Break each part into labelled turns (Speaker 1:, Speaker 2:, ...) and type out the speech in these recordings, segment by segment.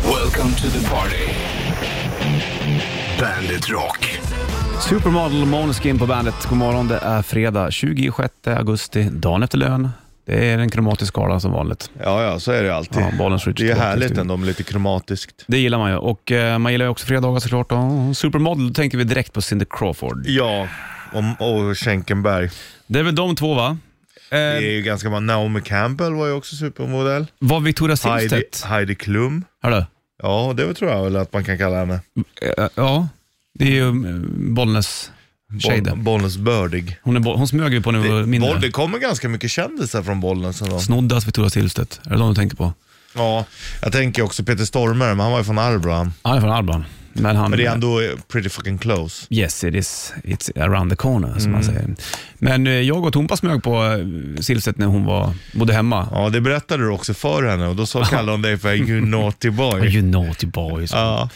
Speaker 1: Welcome to the party. Bandit Rock.
Speaker 2: Supermodel Måneskin på bandet. God morgon, det är fredag 26 augusti, dagen efter lön. Det är en kromatisk skala som vanligt.
Speaker 3: Ja, ja, så är det alltid.
Speaker 2: Ja, bollen skjuts
Speaker 3: det är
Speaker 2: tillbaka
Speaker 3: härligt
Speaker 2: till-
Speaker 3: ändå, med lite kromatiskt.
Speaker 2: Det gillar man ju och eh, man gillar ju också fredagar såklart. Då. Supermodel, då tänker vi direkt på Cindy Crawford.
Speaker 3: Ja, och, och Schenkenberg.
Speaker 2: Det är väl de två va?
Speaker 3: Det
Speaker 2: Eh,
Speaker 3: är ju ganska många. Naomi Campbell var ju också supermodell.
Speaker 2: var Victoria
Speaker 3: Heidi,
Speaker 2: Silvstedt?
Speaker 3: Heidi Klum.
Speaker 2: Hörru?
Speaker 3: Ja, det tror jag väl att man kan kalla henne.
Speaker 2: Eh, ja, det är ju eh, Bollnäs tjej där.
Speaker 3: Boll, Bollnäs Bördig.
Speaker 2: Hon, är, bo- hon smög vi på när vi var
Speaker 3: Det,
Speaker 2: mindre.
Speaker 3: boll, det kommer ganska mycket kändisar från Bollnäs ändå.
Speaker 2: Snoddas Victoria Silvstedt, är det de du tänker på?
Speaker 3: Ja, jag tänker också Peter Stormare, men han var ju från Arbrå han.
Speaker 2: Ja, det är från Alban. Men han...
Speaker 3: Men det är ändå eh, pretty fucking close.
Speaker 2: Yes, it is. It's around the corner, som man säger. Men eh, jag och Tompa smög på eh, Silvstedt när hon var, bodde hemma.
Speaker 3: Ja, det berättade du också för henne och då sa kallade hon dig för you naughty boy.
Speaker 2: Oh, You naughty boy. Så,
Speaker 3: Ja.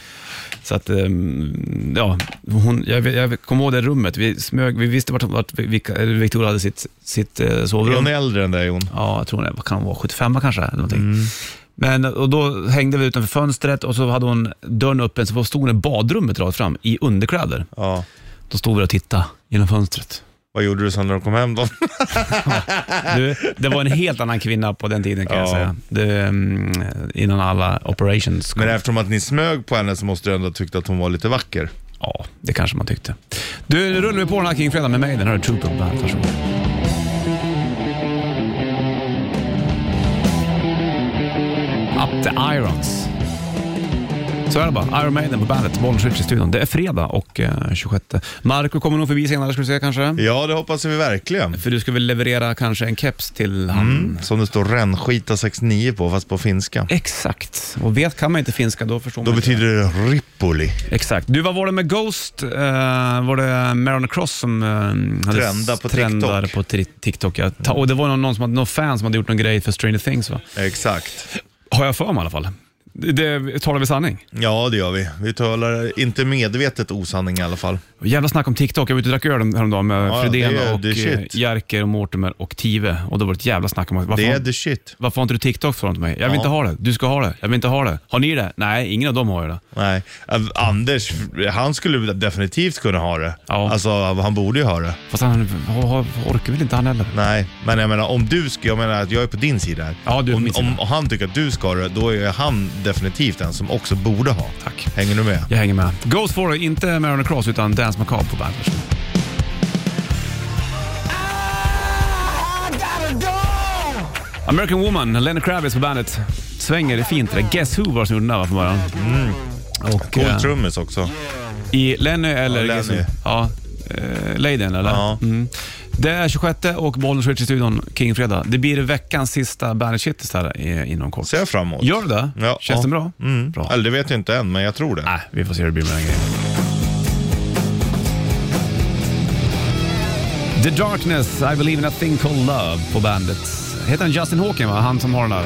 Speaker 2: så att, ehm, ja, hon, jag, vet- jag kommer ihåg det rummet. Vi, smög, vi visste vart, vart vilka, eller Victoria hade sitt, sitt eh,
Speaker 3: Är
Speaker 2: sovrum.
Speaker 3: hon äldre än dig hon?
Speaker 2: Ja, jag tror det. Vad kan hon vara? 75 kanske? Eller någonting. Men, och då hängde vi utanför fönstret och så hade hon dörren öppen, så stod hon i badrummet rakt fram i underkläder.
Speaker 3: Ja.
Speaker 2: Då stod vi och tittade genom fönstret.
Speaker 3: Vad gjorde du sen när du kom hem då?
Speaker 2: Du, det var en helt annan kvinna på den tiden kan jag
Speaker 3: Ja.
Speaker 2: säga. Det, mm, innan alla operations kom.
Speaker 3: Men eftersom att ni smög på henne så måste du ändå ha tyckt att hon var lite vacker.
Speaker 2: Ja, det kanske man tyckte. Du, nu rullar vi på den här kring fredag med mig. Den här är Trooper på bandet. Varsågod. Up the Irons. Så är det bara. Iron Maiden på bandet. Bollen skjuts i studion. Det är fredag och eh, 26. Marco kommer nog förbi senare ska du säga kanske.
Speaker 3: Ja, det hoppas vi verkligen.
Speaker 2: För du ska väl leverera kanske en keps till han.
Speaker 3: Som det står renskita 69 på, fast på finska.
Speaker 2: Exakt. Och vet kan man inte finska då förstår
Speaker 3: Då
Speaker 2: man inte.
Speaker 3: betyder det Ripoli.
Speaker 2: Exakt. Du, vad var det med Ghost? Eh, var det Maron Cross som eh, hade
Speaker 3: Trenda på
Speaker 2: trendar
Speaker 3: TikTok.
Speaker 2: på tri- TikTok? Ja. Ta- och det var någon, någon, som hade, någon fan som hade gjort någon grej för Stranger Things, va?
Speaker 3: Exakt.
Speaker 2: Har jag för mig i alla fall. Det, det talar vi sanning.
Speaker 3: Ja, det gör vi. Vi talar inte medvetet osanning i alla fall.
Speaker 2: Jävla snack om TikTok. Jag var ute och drack öl häromdagen med
Speaker 3: Ja,
Speaker 2: Fredén
Speaker 3: det är
Speaker 2: och
Speaker 3: the
Speaker 2: eh,
Speaker 3: shit.
Speaker 2: Jerker och Mortimer och Tive. Och då var det ett jävla snack om att varför,
Speaker 3: Det är
Speaker 2: har-
Speaker 3: the shit.
Speaker 2: varför har inte du TikTok från till mig? Jag vill
Speaker 3: Ja.
Speaker 2: inte ha det. Du ska ha det. Jag vill inte ha det. Har ni det? Nej, ingen av dem har ju det.
Speaker 3: Nej, Eh, Anders, han skulle definitivt kunna ha det.
Speaker 2: Ja.
Speaker 3: Alltså, han borde ju ha det.
Speaker 2: Fast han har- har- orkar väl inte han heller.
Speaker 3: Nej, men jag menar om du ska, jag menar att jag är på din sida här.
Speaker 2: Ja, du är på
Speaker 3: om,
Speaker 2: min sida.
Speaker 3: om han tycker att du ska ha det, då är han definitivt den som också borde ha.
Speaker 2: Tack.
Speaker 3: Hänger du med?
Speaker 2: Jag hänger med. Ghost for it, inte Maron Cross utan Dance Macabre på bandet. American Woman, Lenny Kravitz på bandet. Svänger, det är fint det där. Guess Who var det som gjorde den där va, från början.
Speaker 3: Mm.
Speaker 2: Och,
Speaker 3: Cool
Speaker 2: eh,
Speaker 3: trummis också.
Speaker 2: I Lenny eller
Speaker 3: Ja,
Speaker 2: Guess
Speaker 3: Lenny.
Speaker 2: Who? Ja, eh, Ladyn eller?
Speaker 3: Ja.
Speaker 2: Mm. Det är 26 och bollen switch i studion, Kingfredag. Det blir veckans sista bandet shitlist här eh, inom kort.
Speaker 3: Ser jag fram emot.
Speaker 2: Gör du det?
Speaker 3: Ja.
Speaker 2: Känns det bra?
Speaker 3: Mm.
Speaker 2: Bra.
Speaker 3: Eller det vet jag inte än, men jag tror det.
Speaker 2: Nej, vi får se hur det blir med den grejen. The Darkness, I Believe in a Thing Called Love på bandet. Heter han Justin Hawking, va? Han som har den där.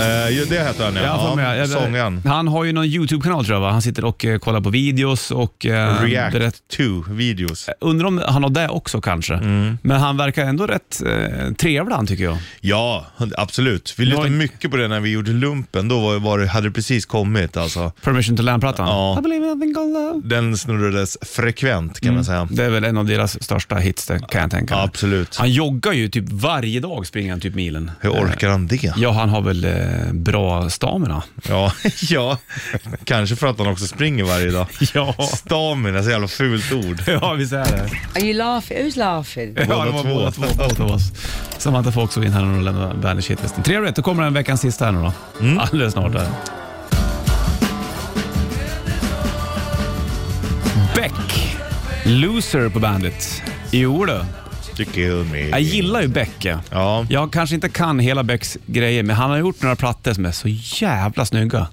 Speaker 3: Eh, ju, det heter han ja.
Speaker 2: Jag har för mig- jag-
Speaker 3: Sångaren.
Speaker 2: Han har ju någon YouTube-kanal tror jag, va? Han sitter och eh, kollar på videos och... Eh,
Speaker 3: React
Speaker 2: berätt-
Speaker 3: 2 videos.
Speaker 2: Undrar om han har det också kanske.
Speaker 3: Mm.
Speaker 2: Men han verkar ändå rätt eh, trevlig han tycker jag.
Speaker 3: Ja, absolut. Vi lyssnade
Speaker 2: inte-
Speaker 3: mycket på det när vi gjorde lumpen. Då var, var, det- hade det precis kommit alltså.
Speaker 2: Permission to Land-plattan.
Speaker 3: Ja.
Speaker 2: I believe in a thing called love.
Speaker 3: Den snurrades frekvent kan man säga.
Speaker 2: Det är väl en av deras största hits, det kan jag tänka mig.
Speaker 3: Absolut.
Speaker 2: Han joggar ju typ varje dag, springer han typ milen.
Speaker 3: Hur orkar han det?
Speaker 2: Ja, han har väl eh, bra stamina.
Speaker 3: Ja, ja. kanske för att han också springer varje dag.
Speaker 2: Ja.
Speaker 3: Stamina, så jävla fult ord.
Speaker 2: Ja, visst är det.
Speaker 4: Are you laughing? Who's laughing?
Speaker 2: Ja, det var
Speaker 3: två.
Speaker 2: båda två. Båda av oss. Samantha Fox och in här och lämnar Bandage Hitlisten. Trevligt, då kommer den veckans sista här nu då.
Speaker 3: Mm.
Speaker 2: Alldeles snart. Där. Beck, loser på bandet. Jo då.
Speaker 3: You kill me.
Speaker 2: jag gillar ju Beck. ja.
Speaker 3: Ja.
Speaker 2: Jag kanske inte kan hela Becks grejer, men han har gjort några plattor som är så jävla snygga.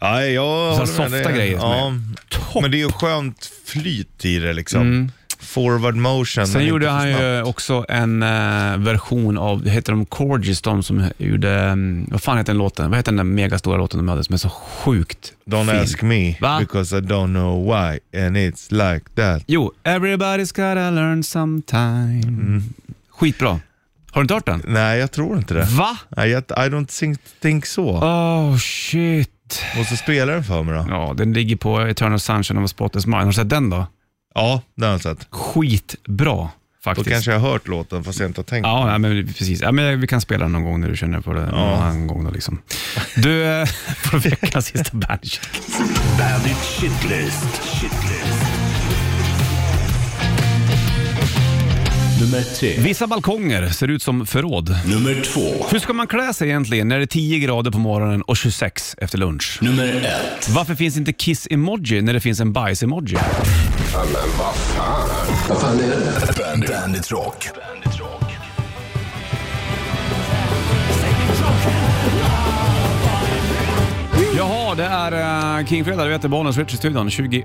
Speaker 3: Ja, jag
Speaker 2: Så här
Speaker 3: håller med
Speaker 2: softa
Speaker 3: dig.
Speaker 2: grejer som
Speaker 3: Ja.
Speaker 2: Topp.
Speaker 3: Men det är ju skönt flyt i det liksom. Forward motion. men
Speaker 2: Mm. Sen
Speaker 3: inte
Speaker 2: gjorde
Speaker 3: för
Speaker 2: han
Speaker 3: snabbt.
Speaker 2: ju också en eh, version av, heter de Corgis, de som gjorde, mm, vad fan heter den låten? Vad heter den där megastora låten de hade som är så sjukt
Speaker 3: Don't
Speaker 2: fin?
Speaker 3: ask me,
Speaker 2: Va?
Speaker 3: because I don't know why, and it's like that.
Speaker 2: Jo, Everybody's gotta learn sometime.
Speaker 3: Mm.
Speaker 2: Skitbra. Har du inte hört den?
Speaker 3: Nej, jag tror inte det.
Speaker 2: Va?
Speaker 3: Nej, jag, I don't think, think so.
Speaker 2: Oh shit. Shit.
Speaker 3: Måste spela den för mig då.
Speaker 2: Ja, den ligger på Eternal Sunshine of a Spotless Mind. Har du sett den då?
Speaker 3: Ja, den har jag sett.
Speaker 2: Skitbra
Speaker 3: Då
Speaker 2: faktiskt.
Speaker 3: kanske jag har hört låten fast jag inte har tänkt.
Speaker 2: Ja, nej, men precis. Ja, men vi kan spela den någon gång när du känner för det. Någon annan gång då, liksom. Du, eh, får veckans sista bandage.
Speaker 1: Bandit Shitlist. Shitlist. Nummer tre.
Speaker 2: Vissa balkonger ser ut som förråd.
Speaker 1: Nummer två.
Speaker 2: Hur ska man klä sig egentligen när det är 10 grader på morgonen och 26 efter lunch?
Speaker 1: Nummer ett.
Speaker 2: Varför finns inte kiss-emoji när det finns en bajs-emoji?
Speaker 1: Bandit, Bandit Rock. Bandit Rock.
Speaker 2: Jaha, det är eh, Kingfredag, du vet det, Bonus Richard-studion, 26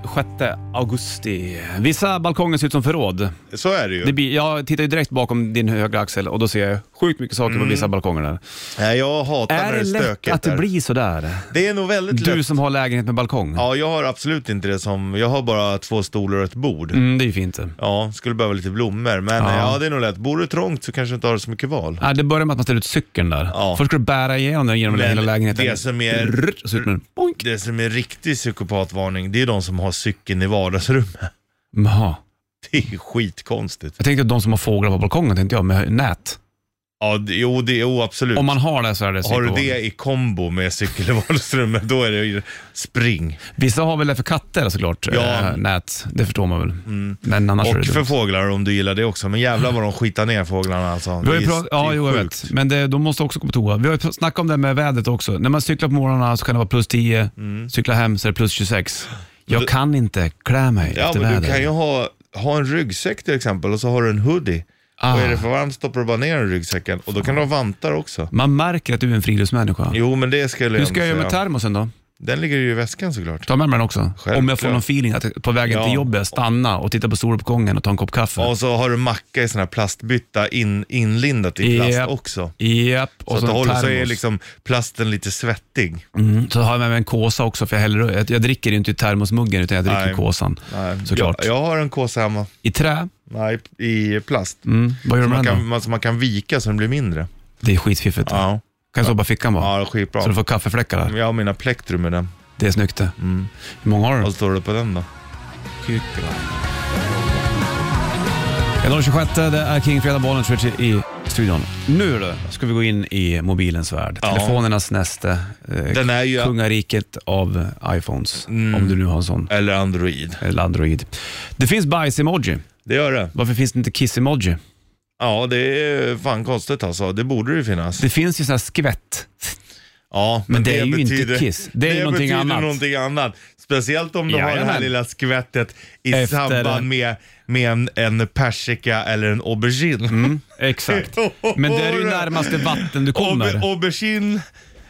Speaker 2: augusti. Vissa balkonger ser ut som förråd.
Speaker 3: Så är det ju.
Speaker 2: Det blir, jag tittar ju direkt bakom din högra axel och då ser jag sjukt mycket saker på vissa balkonger där.
Speaker 3: Nej, jag hatar
Speaker 2: Är
Speaker 3: när Mm. det
Speaker 2: det
Speaker 3: är
Speaker 2: lätt
Speaker 3: stökigt
Speaker 2: att det
Speaker 3: där.
Speaker 2: blir sådär?
Speaker 3: Det är nog väldigt
Speaker 2: Du
Speaker 3: lätt.
Speaker 2: som har lägenhet med balkong?
Speaker 3: Ja, jag har absolut inte det som... Jag har bara två stolar och ett bord.
Speaker 2: Mm, det är ju fint det.
Speaker 3: Ja, skulle behöva lite blommor. Men
Speaker 2: Ja.
Speaker 3: ja, ja det är nog lätt. Bor du trångt så kanske du inte har så mycket val.
Speaker 2: Ja, det börjar med att man ställer ut cykeln där.
Speaker 3: Ja.
Speaker 2: Först ska du bära igenom den genom
Speaker 3: Men
Speaker 2: hela lägenheten.
Speaker 3: det som är-
Speaker 2: Drrrt, och så ut med den. Boink.
Speaker 3: Det som är riktig psykopatvarning, det är de som har cykeln i vardagsrummet.
Speaker 2: Jaha.
Speaker 3: Det är skitkonstigt.
Speaker 2: Jag tänkte att de som har fåglar på balkongen, tänkte jag, med nät.
Speaker 3: Ja, det, jo, det, jo, absolut.
Speaker 2: Om man har det så är det
Speaker 3: har du
Speaker 2: psykopat.
Speaker 3: det i kombo med cykel i vardagsrummet, då är det ju spring.
Speaker 2: Vissa har väl det för katter såklart,
Speaker 3: Ja. Mm.
Speaker 2: eh, nät. Det förstår man väl. Men annars är Alltså, det
Speaker 3: Och för
Speaker 2: dumt.
Speaker 3: fåglar om du gillar det också. Men jävlar vad de skitar ner fåglarna alltså.
Speaker 2: Vi har ju
Speaker 3: Det är-
Speaker 2: prat- ja,
Speaker 3: det är
Speaker 2: jo, jag
Speaker 3: sjukt.
Speaker 2: vet. Men det, de måste också gå på toa. Vi har ju pr- snackat om det här med vädret också. När man cyklar på morgnarna så kan det vara plus 10,
Speaker 3: Mm.
Speaker 2: cykla hem så är det plus 26. Jag
Speaker 3: Du-
Speaker 2: kan inte klä mig
Speaker 3: Ja,
Speaker 2: efter
Speaker 3: men du kan ju
Speaker 2: vädret.
Speaker 3: ha, ha en ryggsäck till exempel och så har du en hoodie.
Speaker 2: Ah.
Speaker 3: Och är det för varmt stoppar du bara ner den i ryggsäcken. Och då kan du ha vantar också.
Speaker 2: Man märker att du är en friluftsmänniska.
Speaker 3: Jo, men det skulle jag
Speaker 2: Hur ska jag
Speaker 3: ändå
Speaker 2: göra med
Speaker 3: säga.
Speaker 2: termosen då?
Speaker 3: Den ligger ju i väskan såklart.
Speaker 2: Ta med mig den också. Om jag
Speaker 3: Självklart.
Speaker 2: får någon feeling att på vägen till
Speaker 3: Ja.
Speaker 2: jobbet, stanna och titta på soluppgången och ta en kopp kaffe.
Speaker 3: Och så har du macka i sån här plastbytta in, inlindat i plast
Speaker 2: Japp.
Speaker 3: också.
Speaker 2: Japp,
Speaker 3: Så
Speaker 2: och
Speaker 3: att
Speaker 2: så,
Speaker 3: det
Speaker 2: en
Speaker 3: håller så är
Speaker 2: termos.
Speaker 3: liksom plasten lite svettig.
Speaker 2: Mm, så har jag med mig en kåsa också, för jag, häller, jag, jag dricker ju inte i termosmuggen utan jag dricker
Speaker 3: Nej.
Speaker 2: i kåsan.
Speaker 3: Nej,
Speaker 2: Såklart.
Speaker 3: Jag, jag har en kåsa hemma.
Speaker 2: I trä,
Speaker 3: Nej, i plast.
Speaker 2: mm, vad gör
Speaker 3: Som
Speaker 2: man
Speaker 3: man,
Speaker 2: då?
Speaker 3: kan, man, som man kan vika så den blir mindre.
Speaker 2: Det är skitfiffigt.
Speaker 3: Ja,
Speaker 2: Kan jag stoppa fickan bara?
Speaker 3: ja Mm. det är
Speaker 2: Så du
Speaker 3: skitbra.
Speaker 2: får kaffefläckar där.
Speaker 3: Jag har mina plektrum i den.
Speaker 2: Det är snyggt det.
Speaker 3: Mm.
Speaker 2: Hur många har du?
Speaker 3: Vad står det på den då?
Speaker 2: Ja, Den 26, det är King Fredag Bollnäs Richie i studion. Nu då, ska vi gå in i mobilens värld.
Speaker 3: Ja.
Speaker 2: Telefonernas näste. Eh,
Speaker 3: Den är ju... Mm.
Speaker 2: Kungariket av iPhones. Om du nu har en sån.
Speaker 3: Eller Android.
Speaker 2: Eller Android. Det finns bajs-emoji.
Speaker 3: Det gör det.
Speaker 2: Varför finns det inte kiss-emoji?
Speaker 3: Ja, det är fan konstigt alltså. Det borde det ju finnas.
Speaker 2: Det finns ju sån här skvätt.
Speaker 3: Ja,
Speaker 2: Men det är ju inte kiss. Det är ju någonting
Speaker 3: betyder
Speaker 2: annat.
Speaker 3: någonting annat. Speciellt om de har det
Speaker 2: Jajamän.
Speaker 3: här lilla skvättet i
Speaker 2: Efter-
Speaker 3: samband med, med en, en persika eller en aubergine.
Speaker 2: Mm. Exakt. Men det är ju närmaste vatten du
Speaker 3: Auber-
Speaker 2: kommer.
Speaker 3: Aubergine,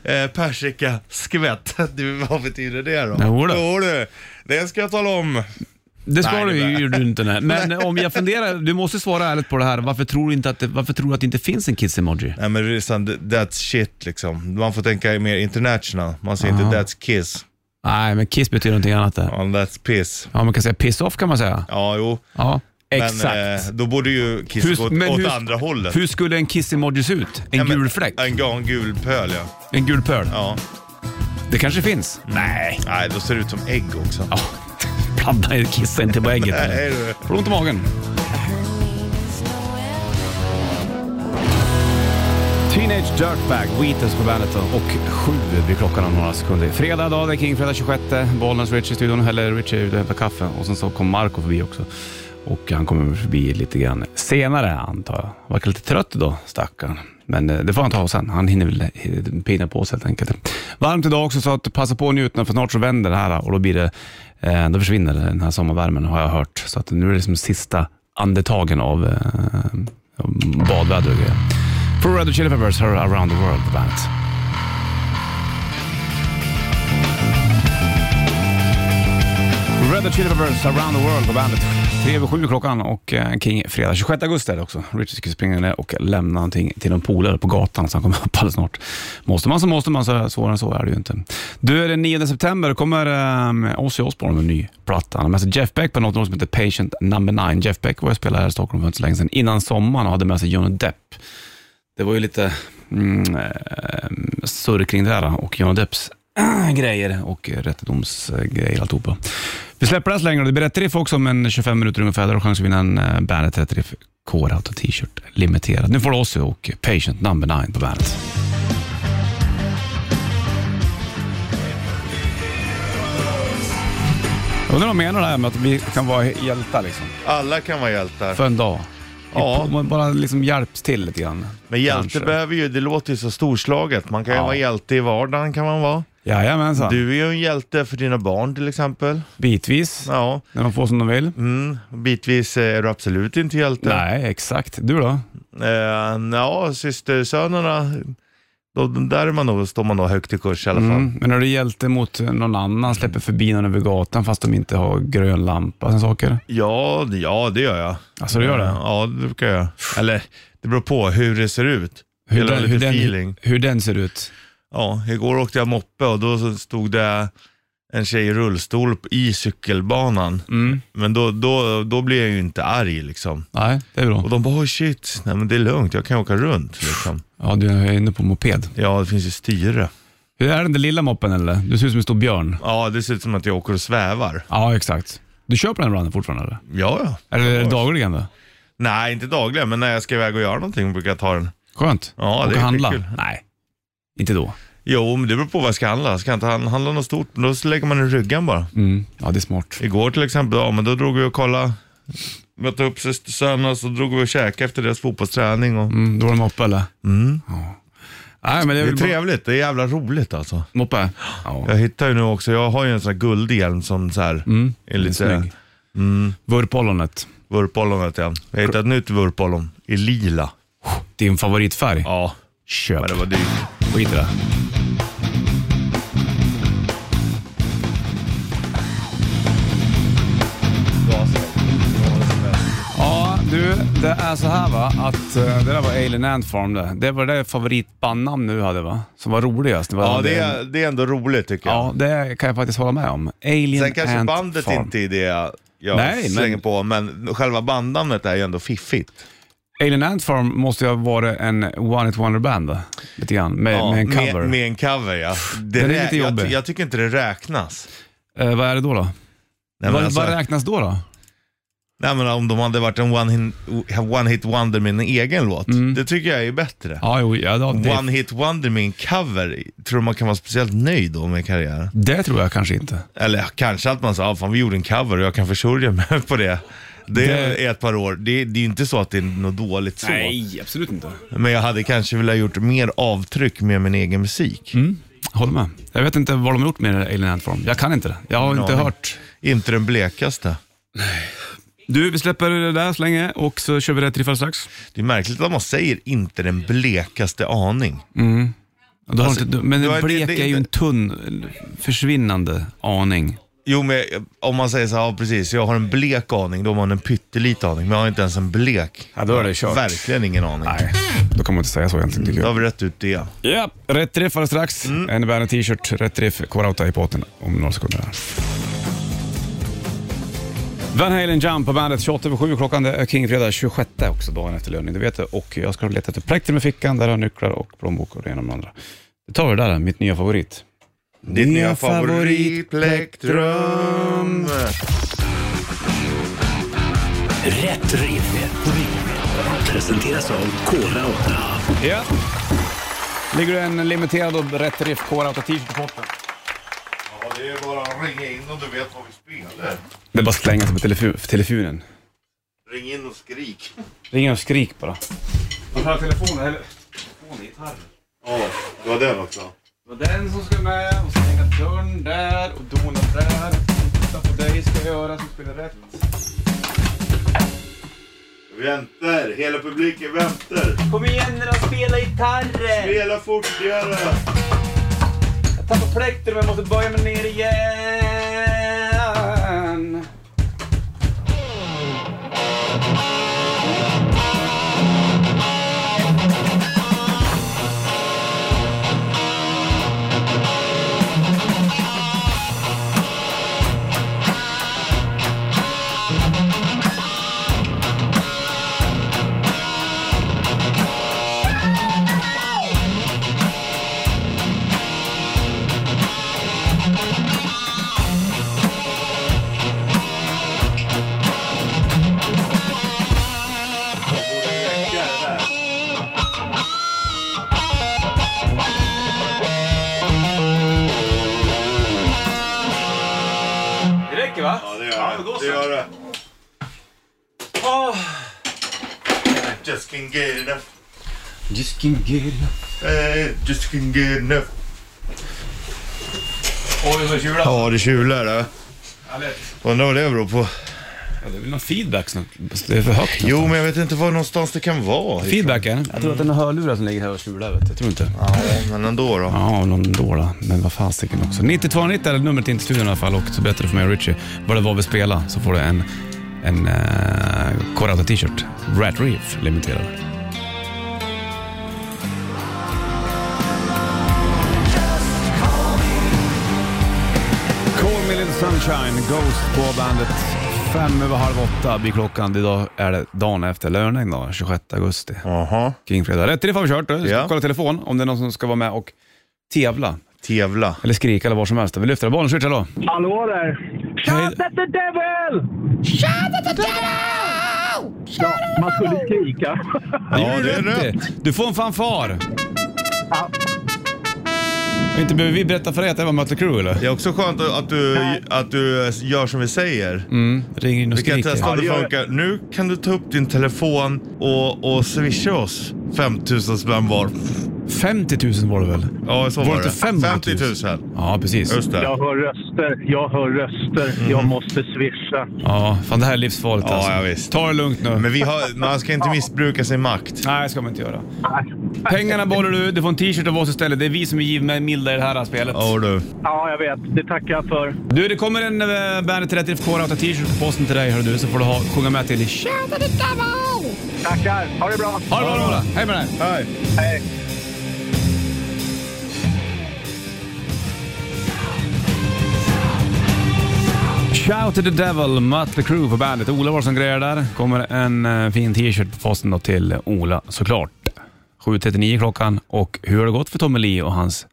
Speaker 3: eh, persika, skvätt. Du, vad betyder det då?
Speaker 2: Jo då.
Speaker 3: du. Det ska jag tala om.
Speaker 2: Det ska
Speaker 3: Nej,
Speaker 2: du
Speaker 3: det
Speaker 2: ju
Speaker 3: där.
Speaker 2: gjorde du inte. Nej. Men om jag funderar, du måste svara ärligt på det här. Varför tror du, inte att, det, varför tror du att det inte finns en kiss-emoji?
Speaker 3: Nej men det är sant, that's shit liksom. Man får tänka mer international. Man säger
Speaker 2: Aha.
Speaker 3: inte that's kiss,
Speaker 2: Nej, men kiss betyder någonting annat där.
Speaker 3: ja, that's piss.
Speaker 2: Ja, man kan säga piss off kan man säga.
Speaker 3: Ja, jo.
Speaker 2: Ja,
Speaker 3: Men
Speaker 2: exakt.
Speaker 3: eh, då borde ju kiss
Speaker 2: Hur-
Speaker 3: gå åt,
Speaker 2: men
Speaker 3: åt
Speaker 2: hur-
Speaker 3: andra hållet.
Speaker 2: Hur skulle en kiss-emoji se ut? En
Speaker 3: Ja, men-
Speaker 2: gul fläck?
Speaker 3: En, en gul pöl ja.
Speaker 2: En gul pöl?
Speaker 3: ja. Mm.
Speaker 2: Det kanske finns? Nej.
Speaker 3: Nej, då ser det ut som ägg också.
Speaker 2: Ja, blanda i kissa inte på ägget.
Speaker 3: Nej, du.
Speaker 2: Får du ont i magen? Teenage Dirtbag, Wheaters på bandet och sju blir klockan om några sekunder. Fredag dag, det är King, fredag 26. Bollnäs Richie i studion, eller Richie är ute och hämtar kaffe. Och sen så kom Marco förbi också. Och han kommer förbi lite grann senare antar jag. Verkar lite trött idag, stackarn. Men eh, det får han ta sen. Han hinner väl eh, pina på sig helt enkelt. Varmt idag också, så att passa på att njuta för snart så vänder det här och då blir det, eh, då försvinner den här sommarvärmen har jag hört. Så att nu är det som sista andetagen av eh, badväder och grejer. For Red Hot Chili Peppers hör Around the World på bandet. Red Hot Chili Peppers Around the World på bandet. Tre över sju klockan och eh, kring fredag 26 augusti är det också. Richard ska springa ner och lämna någonting till någon polare på gatan så han kommer upp alldeles snart. Måste man så måste man, så svårare än så är det ju inte. Du, är den 9 september kommer um, Ozzy Osbourne med en ny platta. Han har med sig Jeff Beck på något som heter Patient Number 9. Jeff Beck var jag spelade här i Stockholm för inte så länge sedan innan sommaren och hade med sig Johnny Depp. Det var ju lite mm, eh, surr kring det där och Johnny Depps grejer och eh, rättedomsgrejer alltihopa. Vi släpper den så länge och det blir rätt riff också om en 25 minuter ungefär. Där har du chans att vinna en eh, Bandet Rätt Riff K-Rout och t-shirt. Limiterat. Nu får du oss och Patient Number 9 på Bandet. Undrar vad de menar det här med att vi kan vara hjältar liksom.
Speaker 3: Alla kan vara hjältar.
Speaker 2: För en dag.
Speaker 3: Ja.
Speaker 2: Om Man bara liksom hjälps till lite grann.
Speaker 3: Men hjälte
Speaker 2: Kanske.
Speaker 3: behöver ju, det låter ju så storslaget. Man kan ju
Speaker 2: Ja.
Speaker 3: vara hjälte i vardagen kan man vara.
Speaker 2: Jajamensan.
Speaker 3: Du är ju en hjälte för dina barn till exempel.
Speaker 2: Bitvis.
Speaker 3: Ja,
Speaker 2: När de får som de vill.
Speaker 3: mm. bitvis eh, är du absolut inte hjälte.
Speaker 2: Nej, exakt. Du då?
Speaker 3: Eh, ja, systersönerna, då, där är man nog, står man nog högt i kurs i alla fall.
Speaker 2: Mm. Men när du hjälte mot någon annan, släpper förbi någon över gatan fast de inte har grön lampa och såna saker.
Speaker 3: Ja, det- ja, det gör jag.
Speaker 2: Alltså du gör det?
Speaker 3: Ja, det brukar jag. Eller, det beror på hur det ser ut.
Speaker 2: Hur
Speaker 3: Eller
Speaker 2: den,
Speaker 3: lite
Speaker 2: hur, den,
Speaker 3: feeling.
Speaker 2: hur den ser ut.
Speaker 3: Ja, igår åkte jag moppe och då så stod det en tjej i rullstol i cykelbanan.
Speaker 2: Mm.
Speaker 3: Men då, då, då blir jag ju inte arg liksom.
Speaker 2: Nej, det är bra.
Speaker 3: Och de bara, oh shit, nej men det är lugnt, jag kan åka runt liksom.
Speaker 2: Ja, du är inne på moped.
Speaker 3: Ja, det finns ju styre.
Speaker 2: Hur är den där lilla moppen eller? Du ser ut som en stor björn.
Speaker 3: Ja, det ser ut som att jag åker och svävar.
Speaker 2: Ja, exakt. Du köper den ibland fortfarande eller?
Speaker 3: Ja, ja.
Speaker 2: Eller är det dagligen då?
Speaker 3: Nej, inte dagligen, men när jag ska iväg och göra någonting brukar jag ta den.
Speaker 2: Skönt.
Speaker 3: Ja, det
Speaker 2: Åka
Speaker 3: är
Speaker 2: handla?
Speaker 3: skitkul.
Speaker 2: Nej, inte då.
Speaker 3: Jo, men det beror på vad jag ska handla. Ska jag inte han- handla något stort, då lägger man den i ryggen bara.
Speaker 2: Mm. Ja, det är smart.
Speaker 3: Igår till exempel, ja men då drog vi och kollade. Mötte upp systersönerna och så drog vi och käkade efter deras fotbollsträning. Och...
Speaker 2: Mm, då var det moppe eller? Ja. Nej, men det
Speaker 3: Mm. Det
Speaker 2: är,
Speaker 3: är
Speaker 2: väl bara...
Speaker 3: trevligt, det är jävla roligt alltså.
Speaker 2: Moppe? Ja.
Speaker 3: Jag hittar ju nu också, jag har ju en sån här guldhjälm som så här, är
Speaker 2: Den är
Speaker 3: lite
Speaker 2: Mm.
Speaker 3: Mm.
Speaker 2: snygg. Vurpollonet.
Speaker 3: vurpollon heter jag. Jag hittade ett nytt vurpollon i lila.
Speaker 2: Din favoritfärg.
Speaker 3: Ja,
Speaker 2: Köp.
Speaker 3: men det var dyrt.
Speaker 2: Skit i det. Ja, du, det är så här va, att eh, det där var Alien Ant Farm det. Det var det favoritbandnamn du hade va? Som var roligast. Det var
Speaker 3: Ja, det är, det är ändå roligt tycker jag.
Speaker 2: Ja, det kan jag faktiskt hålla med om. Alien
Speaker 3: Sen kanske
Speaker 2: Ant
Speaker 3: bandet
Speaker 2: Farm.
Speaker 3: inte är det jag
Speaker 2: Nej, men-
Speaker 3: slänger på, men själva bandnamnet är ju ändå fiffigt.
Speaker 2: Alien Ant Farm måste ju ha varit en One It Wonder Band då, lite grann, med, Eh, med en cover.
Speaker 3: Med, med en cover ja. Det
Speaker 2: Den är
Speaker 3: rä-
Speaker 2: lite
Speaker 3: jag,
Speaker 2: jobbig.
Speaker 3: jag tycker inte det räknas.
Speaker 2: Eh, vad är det då? då?
Speaker 3: Nej,
Speaker 2: vad,
Speaker 3: men alltså-
Speaker 2: vad räknas då? då?
Speaker 3: Nej men om de hade varit en one hit, one hit wonder med en egen låt, det tycker jag är bättre.
Speaker 2: Mm. Ja, jo, ja, då, det,
Speaker 3: One hit wonder med en cover, tror du man kan vara speciellt nöjd då med karriären?
Speaker 2: det tror jag kanske inte.
Speaker 3: Eller kanske att man sa, ah, fan vi gjorde en cover och jag kan försörja mig på det. Det
Speaker 2: Det-
Speaker 3: är ett par år. Det, det är ju inte så att det är något dåligt så.
Speaker 2: absolut inte.
Speaker 3: Men jag hade kanske velat gjort mer avtryck med min egen musik.
Speaker 2: Mm, håller med. Jag vet inte vad de har gjort med Alien Ant Farm. Jag kan inte det. Jag har
Speaker 3: Ingen
Speaker 2: inte
Speaker 3: aning.
Speaker 2: hört.
Speaker 3: Inte den blekaste.
Speaker 2: Du, vi släpper det där så länge och så kör vi rätt riff alldeles strax.
Speaker 3: Det är märkligt att man säger inte den blekaste aning.
Speaker 2: Du har inte, men
Speaker 3: det var- det-
Speaker 2: blek
Speaker 3: det-
Speaker 2: är ju en
Speaker 3: det-
Speaker 2: tunn, försvinnande aning.
Speaker 3: Jo, men eh, om man säger så här, ja precis, jag har en blek aning, då har man en pytteliten aning. Men jag har inte ens en blek.
Speaker 2: Ja, då är det kört.
Speaker 3: Verkligen ingen aning.
Speaker 2: Nej, då kan man inte säga så egentligen tycker
Speaker 3: Då har
Speaker 2: jag.
Speaker 3: vi rätt ut det.
Speaker 2: Ja, rätt riff alldeles strax. En Bandet t-shirt, rätt riff, K-Rauta i båten om några sekunder. här. Van Halen Jump på bandet 28 över 7. Klockan det är Kingfredag 26 också, dagen efter löning. Det vet du. Och jag ska leta efter plektrum i fickan. Där har jag nycklar och plånbok och det ena med det andra. Det tar vi det där, mitt nya favorit.
Speaker 3: Ditt nya favoritplektrum.
Speaker 1: Rätt riff. Rätt riff. Presenteras av Kora 8.
Speaker 2: Ja. Ligger det en limiterad och rätt riff K-Rauta t-shirt i potten?
Speaker 3: Ja, det är bara att ringa in om du vet vad vi spelar.
Speaker 2: Det är bara att slänga sig på telefu- telefonen.
Speaker 3: Ring in och skrik.
Speaker 2: Ring och skrik bara. Varför har telefonen? Eller... Telefonen, gitarr.
Speaker 3: Ja, det var den också.
Speaker 2: Det var den som ska med och stänga dörren där och dona där. Titta på dig ska jag göra som spelar rätt.
Speaker 3: Väntar, hela publiken väntar.
Speaker 5: Kom igen nu då, spela gitarren!
Speaker 3: Spela fortigare.
Speaker 5: Jag tappar plektrum, jag måste böja mig ner igen.
Speaker 3: Oj, gör det. Det gör det. Just can get enough.
Speaker 2: Just can get
Speaker 3: Eh, Just can get enough. Ja, det tjular. det. Undrar vad det beror på.
Speaker 2: ja, det är väl någon feedback snart. Det är för högt. alltså.
Speaker 3: Jo, men jag vet inte var någonstans det kan vara.
Speaker 2: Feedback är det. Jag tror att det är några hörlurar som ligger här och tjular. Vet du. Jag tror inte.
Speaker 3: Ja, men ändå då.
Speaker 2: Ja, någon dåla. Men vad fasiken också. 9290 är numret in till studion i alla fall och så berättar du för mig och Richie vad det var vi spelade så får du en, en uh, Corrado-t-shirt. Rat Reef Limiterad. Call Me Little Sunshine, Ghost på bandet. Fem över halv åtta blir klockan. Idag är det dagen efter lördag, då, 26 augusti.
Speaker 3: Jaha.
Speaker 2: Kingfredag. Rätt till det får vi kört. Du ska
Speaker 3: Ja.
Speaker 2: kolla telefon om det är någon som ska vara med och tävla.
Speaker 3: Tävla.
Speaker 2: Eller skrika eller vad som helst. Vi lyfter bollen. Switch, hallå.
Speaker 6: Hallå där! Shout at the devil! Shout at the devil! Ja, man skulle skrika.
Speaker 3: Ja, det är
Speaker 2: Rätt.
Speaker 3: rätt.
Speaker 2: Du får en fanfar.
Speaker 6: Ja.
Speaker 2: Och Inte behöver vi berätta för dig att det var Mötley Crüe eller?
Speaker 3: Det är också skönt att du, att du gör som vi säger.
Speaker 2: Ringer in och
Speaker 3: Vi kan
Speaker 2: skriker.
Speaker 3: testa om det
Speaker 6: Ja, det gör
Speaker 3: funkar. Nu kan du ta upp din telefon och, och swisha oss 5000 spänn var.
Speaker 2: 50 000 var det väl?
Speaker 3: Ja, så var,
Speaker 2: det inte 50 000?
Speaker 3: 50 000.
Speaker 2: Ja, precis.
Speaker 3: Just det.
Speaker 6: Jag hör röster, jag hör röster. Jag måste swisha.
Speaker 2: Ja, fan det här är livsfarligt
Speaker 3: Ja,
Speaker 2: alltså.
Speaker 3: ja, visst.
Speaker 2: Ta det lugnt nu.
Speaker 3: Men vi har, man ska inte missbruka sin makt.
Speaker 2: Nej, det ska man inte göra. Pengarna bollar du, du får en t-shirt av oss istället. Det är vi som är givmilda i det här spelet.
Speaker 3: Ja du.
Speaker 6: Ja, jag vet. Det tackar jag för.
Speaker 2: Du, det kommer en äh, Bandet till rätt kåra t shirt på posten till dig hör du, så får du ha, sjunga med till Tja!
Speaker 6: Tackar. Ha det bra.
Speaker 2: Ha det bra Roland, hej med dig!
Speaker 3: Hej.
Speaker 2: Shout to the devil, Mötley Crüe på bandet. Ola var som grejer där. Kommer en eh, fin t-shirt på posten då till Ola såklart. 7.39 klockan och hur har det gått för Tommy Lee och hans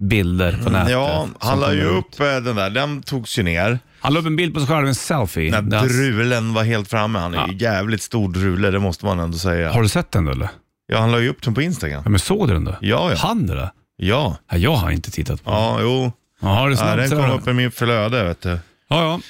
Speaker 2: bilder på nätet?
Speaker 3: Mm, Ja,
Speaker 2: som
Speaker 3: han la
Speaker 2: kommer
Speaker 3: ju
Speaker 2: ut?
Speaker 3: upp eh, den där. Den togs ju ner.
Speaker 2: Han la upp en bild på sig själv, en selfie.
Speaker 3: När
Speaker 2: Där han-
Speaker 3: drulen var helt framme. Han är ju jävligt stor drule, det måste man ändå säga.
Speaker 2: Har du sett den då eller?
Speaker 3: Ja, han la ju upp den på Instagram.
Speaker 2: Ja, men såg du den då?
Speaker 3: Ja, ja.
Speaker 2: Han det där?
Speaker 3: Ja,
Speaker 2: Ja, jag har inte tittat på den.
Speaker 3: ja, jo.
Speaker 2: Jaha, det är
Speaker 3: Ja,
Speaker 2: snabbt
Speaker 3: den
Speaker 2: sådär.
Speaker 3: kom upp i min flöde, vet du.
Speaker 2: Ja, ja.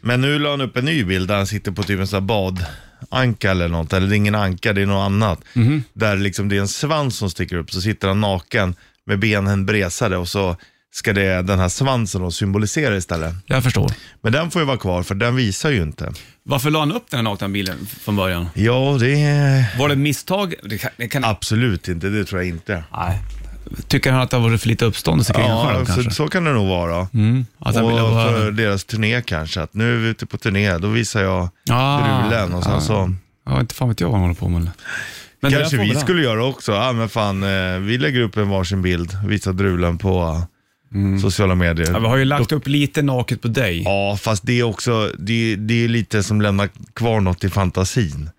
Speaker 3: Men nu la han upp en ny bild där han sitter på typ en sån här badanka eller något. Eller det är ingen anka, det är något annat.
Speaker 2: Mhm.
Speaker 3: Där liksom det är en svans som sticker upp, så sitter han naken med benen bresade och så ska det den här svansen då symbolisera istället.
Speaker 2: Jag förstår.
Speaker 3: Men den får ju vara kvar för den visar ju inte.
Speaker 2: Varför la han upp den här nakna bilden från början?
Speaker 3: Ja, det är...
Speaker 2: Var det ett misstag? Det kan, det
Speaker 3: Ah.
Speaker 2: kan...
Speaker 3: Absolut inte, det tror jag inte.
Speaker 2: Nej. Tycker han att det har varit för lite uppståndelse kring honom själv
Speaker 3: så,
Speaker 2: kanske?
Speaker 3: så kan det nog vara.
Speaker 2: Mm. Att han
Speaker 3: och
Speaker 2: ville vara...
Speaker 3: för deras turné kanske, att nu är vi ute på turné, då visar jag
Speaker 2: Ah,
Speaker 3: drulen och sen
Speaker 2: ah.
Speaker 3: så
Speaker 2: Ja, inte fan vet jag vad han håller på med. eller? Men det
Speaker 3: Kanske
Speaker 2: där får
Speaker 3: vi
Speaker 2: väl
Speaker 3: skulle göra också. Ja, men fan, eh, vi lägger upp en varsin bild, visar drulen på eh, sociala medier.
Speaker 2: han. Mm. Ja, vi har ju lagt upp lite naket på dig. Ja,
Speaker 3: Ja, fast det är också, det, det är lite som lämnar kvar något i fantasin.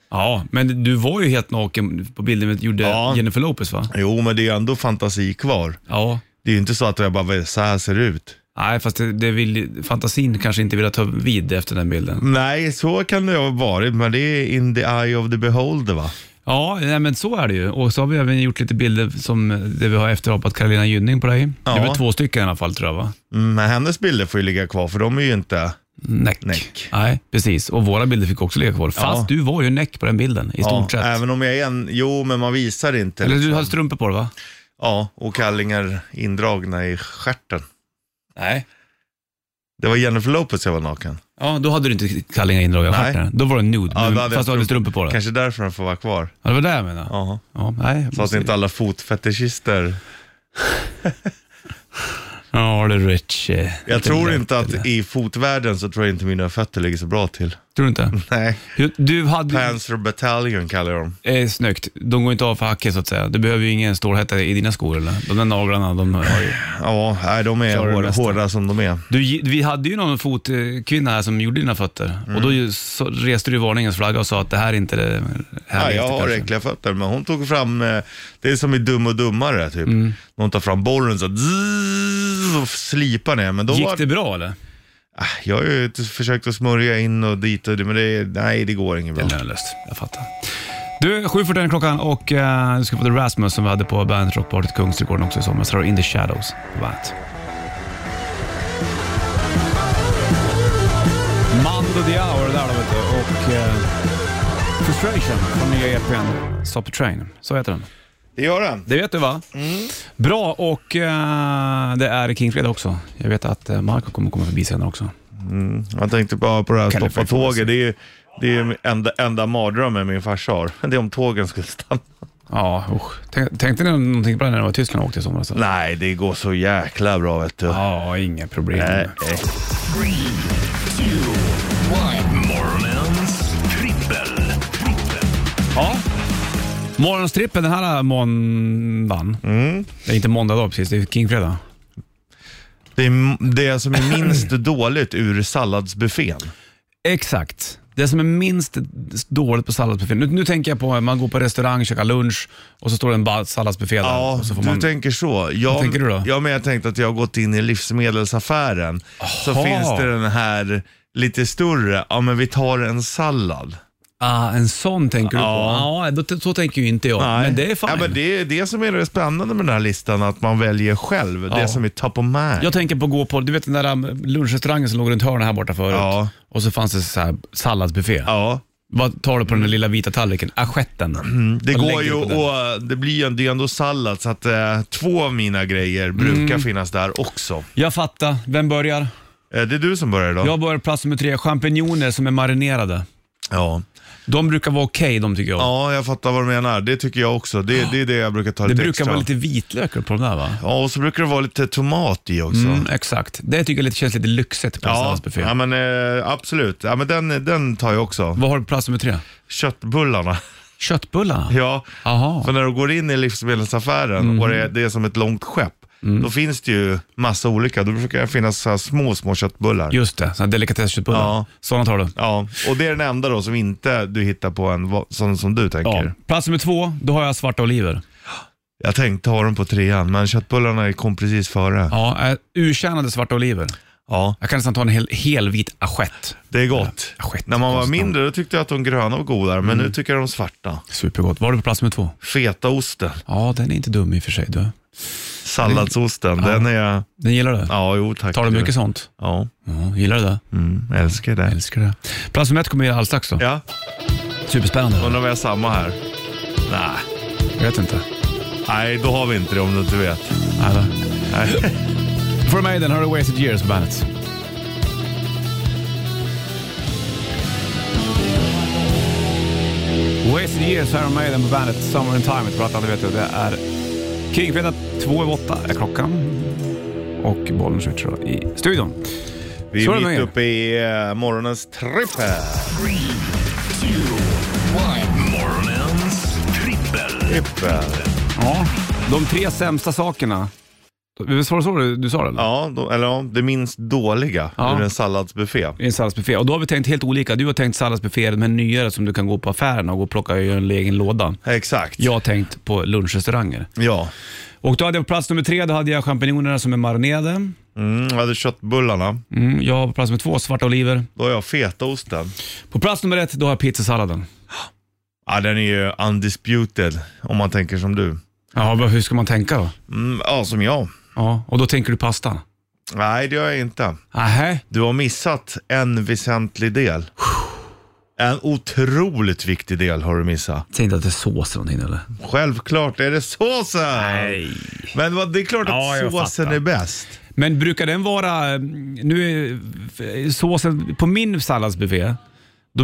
Speaker 2: men du var ju helt naken på bilden vi gjorde
Speaker 3: Ja.
Speaker 2: Jennifer Lopez va?
Speaker 3: Jo, men det är ändå fantasi kvar.
Speaker 2: Ja.
Speaker 3: Det är ju inte så att jag bara, så här ser det ut.
Speaker 2: Nej, fast det, det vill, fantasin kanske inte ville ta vid efter den bilden.
Speaker 3: Nej, så kan det ha varit, men det är in the eye of the beholder va?
Speaker 2: Ja, nej, men så är det ju. Och så har vi även gjort lite bilder som där vi har efterapat Carolina Gynning på dig. Det är
Speaker 3: Ja.
Speaker 2: väl två stycken i alla fall tror jag va?
Speaker 3: Mm, Men hennes bilder får ju ligga kvar, för de är ju inte...
Speaker 2: Näck.
Speaker 3: Näck.
Speaker 2: Nej, precis. Och våra bilder fick också ligga kvar. Fast du var ju näck på den bilden i
Speaker 3: Ja,
Speaker 2: stort sett.
Speaker 3: även om liksom- jag är en, jo men man visar inte.
Speaker 2: Eller du hade strumpor på dig va?
Speaker 3: Ja, och kallingar indragna i stjärten.
Speaker 2: Nej.
Speaker 3: Det var Jennifer Lopez jag var naken.
Speaker 2: Ja, då hade du inte kallingar indragna i
Speaker 3: Nej.
Speaker 2: stjärten. Då var du nude,
Speaker 3: Ja,
Speaker 2: men,
Speaker 3: då hade jag
Speaker 2: Mm, fast du hade strumpor på dig. Mm,
Speaker 3: Kanske därför den får vara kvar.
Speaker 2: Ja, det var det jag menade. Ja.
Speaker 3: Ja.
Speaker 2: nej.
Speaker 3: Så att inte alla fotfetischister.
Speaker 2: Ja, det är rich. eh,
Speaker 3: Jag
Speaker 2: lite
Speaker 3: tror
Speaker 2: lätt,
Speaker 3: inte
Speaker 2: eller?
Speaker 3: att i fotvärlden så tror jag inte mina fötter ligger så bra till.
Speaker 2: Tror du inte?
Speaker 3: Nej.
Speaker 2: Jo, Du hade...
Speaker 3: Panzer Battalion kallar jag dem.
Speaker 2: Eh, snyggt. De går inte av för hacket så att säga. Du behöver ju ingen stålhätta i dina skor eller? De där naglarna, de har ju...
Speaker 3: Ja, nej, de är
Speaker 2: Klarar det
Speaker 3: hårda,
Speaker 2: mesta.
Speaker 3: hårda som de är.
Speaker 2: Du, gi- vi hade ju någon fotkvinna här som gjorde dina fötter. Och då ju, så reste du varningens flagga och sa att det här är inte det
Speaker 3: Ja,
Speaker 2: härligaste
Speaker 3: jag har
Speaker 2: kanske.
Speaker 3: äckliga fötter, men hon tog fram, eh, det är som i Dum och Dummare typ.
Speaker 2: Mm.
Speaker 3: Hon tar fram bollen så zzz, och slipar ner. Men då var,
Speaker 2: Gick det bra eller?
Speaker 3: Ah, Jag har ju t- försökt att smörja in och dit och det, men det, nej det går inget bra.
Speaker 2: Det är lönlöst, jag fattar. Du, 7.41 klockan och eh, du ska få The Rasmus som vi hade på Bandet Rockpartyt Kungsträdgården också i somras. Här har du In the Shadows på bandet. Diao och det där då vet du. Och eh, Frustration från nya EPn Stop Train. Så heter den.
Speaker 3: Det gör den.
Speaker 2: Det vet du va? Bra och eh, det är Kingfredag också. Jag vet att eh, Marco kommer komma förbi senare också.
Speaker 3: Jag tänkte bara på det här
Speaker 2: Kan du
Speaker 3: stoppa
Speaker 2: förklara sig?
Speaker 3: tåget. Det är ju det är ju enda, enda mardrömmen min farsa har. Det är om tågen skulle stanna.
Speaker 2: Ja, usch. Tänk, tänkte ni någonting på det när det var i Tyskland och åkte i somras? eller?
Speaker 3: Nej, det går så jäkla bra vet du.
Speaker 2: Ja, inga problem.
Speaker 3: Nej.
Speaker 1: Morgonens trippel. trippel.
Speaker 2: Ja. Morgonstrippen den här eh, måndagen.
Speaker 3: Mm.
Speaker 2: Det är inte måndag då precis, det är Kingfredag.
Speaker 3: Det är det som är minst dåligt ur salladsbuffén.
Speaker 2: Exakt. Det som är minst dåligt på salladsbuffén. Nu, nu tänker jag på när man går på restaurang, käkar lunch och så står det en ba- salladsbuffé där.
Speaker 3: Ja,
Speaker 2: och så
Speaker 3: du
Speaker 2: får man...
Speaker 3: tänker så. Jag,
Speaker 2: Vad tänker du då?
Speaker 3: Ja, men jag tänkte att jag har gått in i livsmedelsaffären. Så
Speaker 2: Aha.
Speaker 3: finns det den här lite större, ja men vi tar en sallad.
Speaker 2: Ah, en sån tänker du
Speaker 3: Ja.
Speaker 2: på? Ja, då, så tänker ju inte jag. Men det är fine.
Speaker 3: Ja, men det är det som är det spännande med den här listan, att man väljer själv.
Speaker 2: Ja.
Speaker 3: Det som är top of mind.
Speaker 2: Jag tänker på att gå på, du vet den där um, lunchrestaurangen som låg runt hörnet här borta förut.
Speaker 3: Ja.
Speaker 2: Och så fanns det så här salladsbuffé.
Speaker 3: Ja,
Speaker 2: Vad tar du på den där lilla vita tallriken? Assietten.
Speaker 3: Mm, det
Speaker 2: Vad
Speaker 3: går
Speaker 2: lägger
Speaker 3: ju
Speaker 2: du på den?
Speaker 3: och det blir ju det är ändå sallad så att eh, två av mina grejer brukar
Speaker 2: Mm.
Speaker 3: finnas där också.
Speaker 2: Jag fattar. Vem börjar?
Speaker 3: Eh, det är du som börjar idag.
Speaker 2: Jag börjar på plats nummer tre. Champinjoner som är marinerade.
Speaker 3: Ja.
Speaker 2: De brukar vara okej de tycker jag.
Speaker 3: ja, jag fattar vad du menar. Det tycker jag också. Det, det är det jag brukar ta
Speaker 2: det
Speaker 3: lite
Speaker 2: brukar
Speaker 3: extra.
Speaker 2: vara lite vitlök på de där va?
Speaker 3: Ja, och så brukar det vara lite tomat i också.
Speaker 2: Mm, exakt. Det tycker jag lite, känns lite lyxigt på en
Speaker 3: Ja,
Speaker 2: salladsbuffé.
Speaker 3: ja men eh, absolut. Ja, men den, den tar jag också.
Speaker 2: Vad har du på plats nummer tre?
Speaker 3: Köttbullarna.
Speaker 2: Köttbullar?
Speaker 3: Ja,
Speaker 2: Aha.
Speaker 3: för när du går in i livsmedelsaffären och det, det är som ett långt skepp, då finns det ju massa olika. Då brukar det finnas så här små, små köttbullar.
Speaker 2: Just det, såna här delikatessköttbullar.
Speaker 3: Ja.
Speaker 2: Sådana tar du.
Speaker 3: Ja, och det är den enda då som inte du hittar på en va- sån som du tänker.
Speaker 2: Ja. Plats nummer två, då har jag svarta oliver.
Speaker 3: Jag tänkte ha dem på trean, men köttbullarna kom precis före. Ja,
Speaker 2: Ja, eh, urtjänade svarta oliver. Jag kan nästan ta en hel, helvit assiett.
Speaker 3: det är gott.
Speaker 2: assiett,
Speaker 3: När man var
Speaker 2: konstigt
Speaker 3: mindre då tyckte jag att de gröna var godare, men nu tycker jag de svarta.
Speaker 2: Supergott. Vad har du på plats nummer två?
Speaker 3: Fetaosten,
Speaker 2: Ja, den är inte dum i och för sig. Du.
Speaker 3: salladsosten, den är...
Speaker 2: Den gillar du?
Speaker 3: Ja, jo tack.
Speaker 2: Tar du mycket sånt?
Speaker 3: Ja,
Speaker 2: Ja, gillar du det?
Speaker 3: mm, jag älskar det.
Speaker 2: Älskar det. Plats nummer ett kommer jag alldeles strax då.
Speaker 3: Ja,
Speaker 2: Superspännande.
Speaker 3: undrar om vi har samma här. Nej,
Speaker 2: Jag vet inte.
Speaker 3: nej då har vi inte det om du inte vet.
Speaker 2: Nej, va? For Maiden har du Wasted Years på bandet. Wasted Years här har Maiden på bandet. Summer in Time, för att alla vet det. Det är Kingfredag, två över åtta är klockan. Och bollen switchar i studion.
Speaker 3: Vi
Speaker 2: Så är
Speaker 3: är
Speaker 2: det
Speaker 3: mitt
Speaker 2: med.
Speaker 3: uppe i eh, morgonens trippel.
Speaker 1: Morgonens trippel.
Speaker 3: Trippel.
Speaker 2: Ja, de tre sämsta sakerna. Visst var det så du, du sa det? Eller?
Speaker 3: Ja, då, eller ja, det minst dåliga
Speaker 2: Ja.
Speaker 3: ur en salladsbuffé.
Speaker 2: I en salladsbuffé. Och då har vi tänkt helt olika. Du har tänkt salladsbufféer med nyare som du kan gå på affärerna och gå och plocka i en egen låda.
Speaker 3: Exakt.
Speaker 2: Jag har tänkt på lunchrestauranger.
Speaker 3: Ja.
Speaker 2: Och då hade jag på plats nummer tre, då hade jag champinjonerna som är marinerade.
Speaker 3: Mm, jag hade köttbullarna.
Speaker 2: Mm, jag har på plats nummer två, svarta oliver.
Speaker 3: Då har jag fetaosten.
Speaker 2: På plats nummer ett, då har jag pizzasalladen.
Speaker 3: Ja, den är ju undisputed om man tänker som du.
Speaker 2: Ja, men hur ska man tänka då?
Speaker 3: Mm, ja, som jag.
Speaker 2: Ja, och då tänker du pastan.
Speaker 3: Nej, det gör jag inte.
Speaker 2: Nähä?
Speaker 3: Du har missat en väsentlig del. En otroligt viktig del har du missat.
Speaker 2: Säg inte att det är sås eller någonting eller?
Speaker 3: Självklart är det såsen! Men vad- det är klart att
Speaker 2: Ja, jag
Speaker 3: såsen
Speaker 2: fattar.
Speaker 3: är bäst.
Speaker 2: Men brukar den vara, mm, nu är f- såsen på min salladsbuffé, då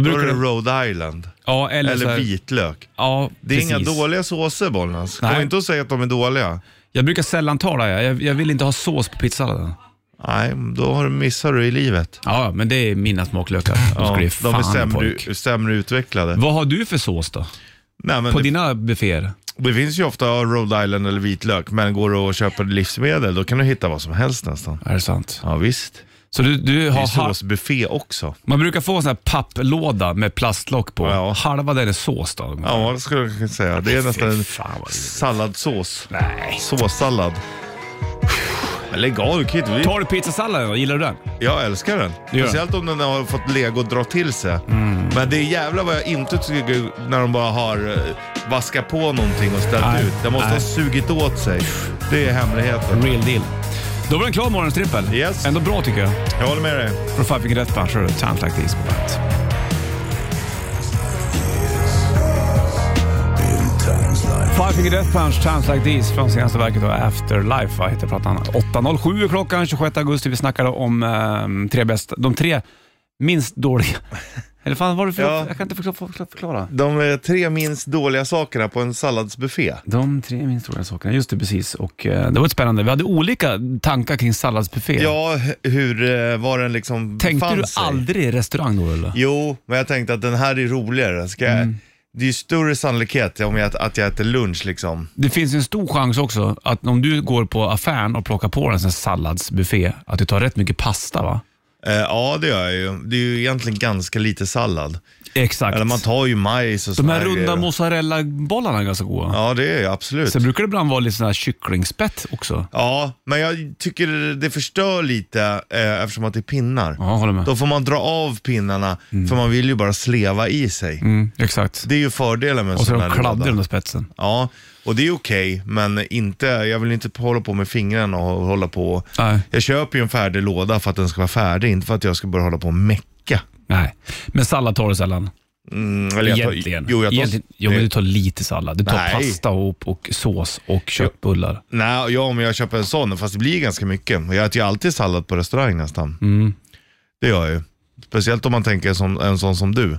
Speaker 3: Då är
Speaker 2: brukar
Speaker 3: det
Speaker 2: den,
Speaker 3: Rhode Island.
Speaker 2: ja eller, så
Speaker 3: Eller
Speaker 2: här-
Speaker 3: vitlök.
Speaker 2: Ja,
Speaker 3: Det är inga
Speaker 2: precis.
Speaker 3: dåliga såser, Bollnäs. Kom
Speaker 2: Nej.
Speaker 3: inte och säg att de är dåliga.
Speaker 2: Jag brukar sällan ta det, jag, jag vill inte ha sås på pizzasalladen.
Speaker 3: Nej, då har du- missar du i livet.
Speaker 2: Ja, men det är mina smaklökar. De ska ge fan
Speaker 3: de är
Speaker 2: pojk.
Speaker 3: sämre, sämre utvecklade.
Speaker 2: Vad har du för sås då?
Speaker 3: Nej, men
Speaker 2: På
Speaker 3: det,
Speaker 2: dina bufféer?
Speaker 3: det finns ju ofta Rhode Island eller vitlök, men går du och köper livsmedel då kan du hitta vad som helst nästan.
Speaker 2: Är det sant?
Speaker 3: Ja, visst.
Speaker 2: Så du, du
Speaker 3: Det är
Speaker 2: har ha-
Speaker 3: såsbuffé också.
Speaker 2: Man brukar få en sån här papplåda med plastlock på.
Speaker 3: Ja.
Speaker 2: Halva den är sås då.
Speaker 3: Ja, det skulle jag kunna säga. Det är nästan en
Speaker 2: fan vad vidrigt.
Speaker 3: salladsås. Nej. Såssallad. Men lägg av, du kan ju inte...
Speaker 2: Tar du pizzasalladen då? Gillar du den?
Speaker 3: Jag älskar den.
Speaker 2: Gör den. Mm.
Speaker 3: Speciellt om den har fått lego dra till sig. Men det är jävla vad jag inte tycker när de bara har eh, vaskat på någonting och ställt
Speaker 2: Nej. Mm.
Speaker 3: ut. Den måste
Speaker 2: Nej.
Speaker 3: ha sugit åt sig. Det är hemligheten.
Speaker 2: Real deal. Då var den klar morgonens trippel.
Speaker 3: Yes.
Speaker 2: Ändå bra tycker jag.
Speaker 3: Jag håller med dig.
Speaker 2: Från Five Finger Death Punch, hörru. Times Like These på bandet. Five Finger Death Punch, Times Like These från senaste verket då, Afterlife va, heter plattan. 8.07 är klockan 26 augusti. Vi snackade om ehm, tre bästa, de tre minst dåliga. Eller fan vad var det för
Speaker 3: Ja.
Speaker 2: Jag kan inte förklara. förklara.
Speaker 3: De eh, tre minst dåliga sakerna på en salladsbuffé.
Speaker 2: De tre minst dåliga sakerna, just det precis. Och, eh, det var ett spännande. Vi hade olika tankar kring salladsbuffé.
Speaker 3: Ja, hur eh, var den liksom
Speaker 2: Tänkte
Speaker 3: fann
Speaker 2: du
Speaker 3: sig?
Speaker 2: aldrig restaurang då eller?
Speaker 3: Jo, men jag tänkte att den här är roligare. Ska
Speaker 2: Mm.
Speaker 3: jag, Det är ju större sannolikhet om jag, att jag äter lunch liksom.
Speaker 2: Det finns en stor chans också att om du går på affären och plockar på dig en sån här salladsbuffé, att du tar rätt mycket pasta va?
Speaker 3: Eh, ja, det gör jag ju. Det är ju egentligen ganska lite sallad.
Speaker 2: Exakt.
Speaker 3: Eller man tar ju majs och
Speaker 2: De
Speaker 3: såna
Speaker 2: här runda
Speaker 3: grejer.
Speaker 2: mozzarellabollarna är ganska goda.
Speaker 3: Ja, det är jag absolut.
Speaker 2: Sen brukar det ibland vara lite sån här kycklingspett också.
Speaker 3: Ja, men jag tycker det förstör lite eh, eftersom att det är pinnar.
Speaker 2: Ja, Mm. håller med.
Speaker 3: Då får man dra av pinnarna, för man vill ju bara sleva i sig.
Speaker 2: Mm, exakt.
Speaker 3: Det är ju fördelen med en
Speaker 2: Och så
Speaker 3: sån
Speaker 2: är
Speaker 3: här
Speaker 2: de kladdiga
Speaker 3: låda.
Speaker 2: de där spetsen.
Speaker 3: Ja, och det är okej, men inte, jag vill inte hålla på med fingrarna och hålla på.
Speaker 2: Nej.
Speaker 3: Jag köper ju en färdig låda för att den ska vara färdig, inte för att jag ska börja hålla på och mecka.
Speaker 2: Nej. Men sallad tar du sällan.
Speaker 3: Mm, eller jag tar-
Speaker 2: Egentligen.
Speaker 3: Jo, jag tar... Eh,
Speaker 2: Egentligen. Jo, men du tar lite sallad. Du tar
Speaker 3: Nej.
Speaker 2: pasta och, och sås och köttbullar.
Speaker 3: Nej, ja, men jag köper en sån, fast det blir ganska mycket. Jag äter ju alltid sallad på restaurang nästan.
Speaker 2: Mm.
Speaker 3: Det gör jag ju. Speciellt om man tänker som, en sån som du.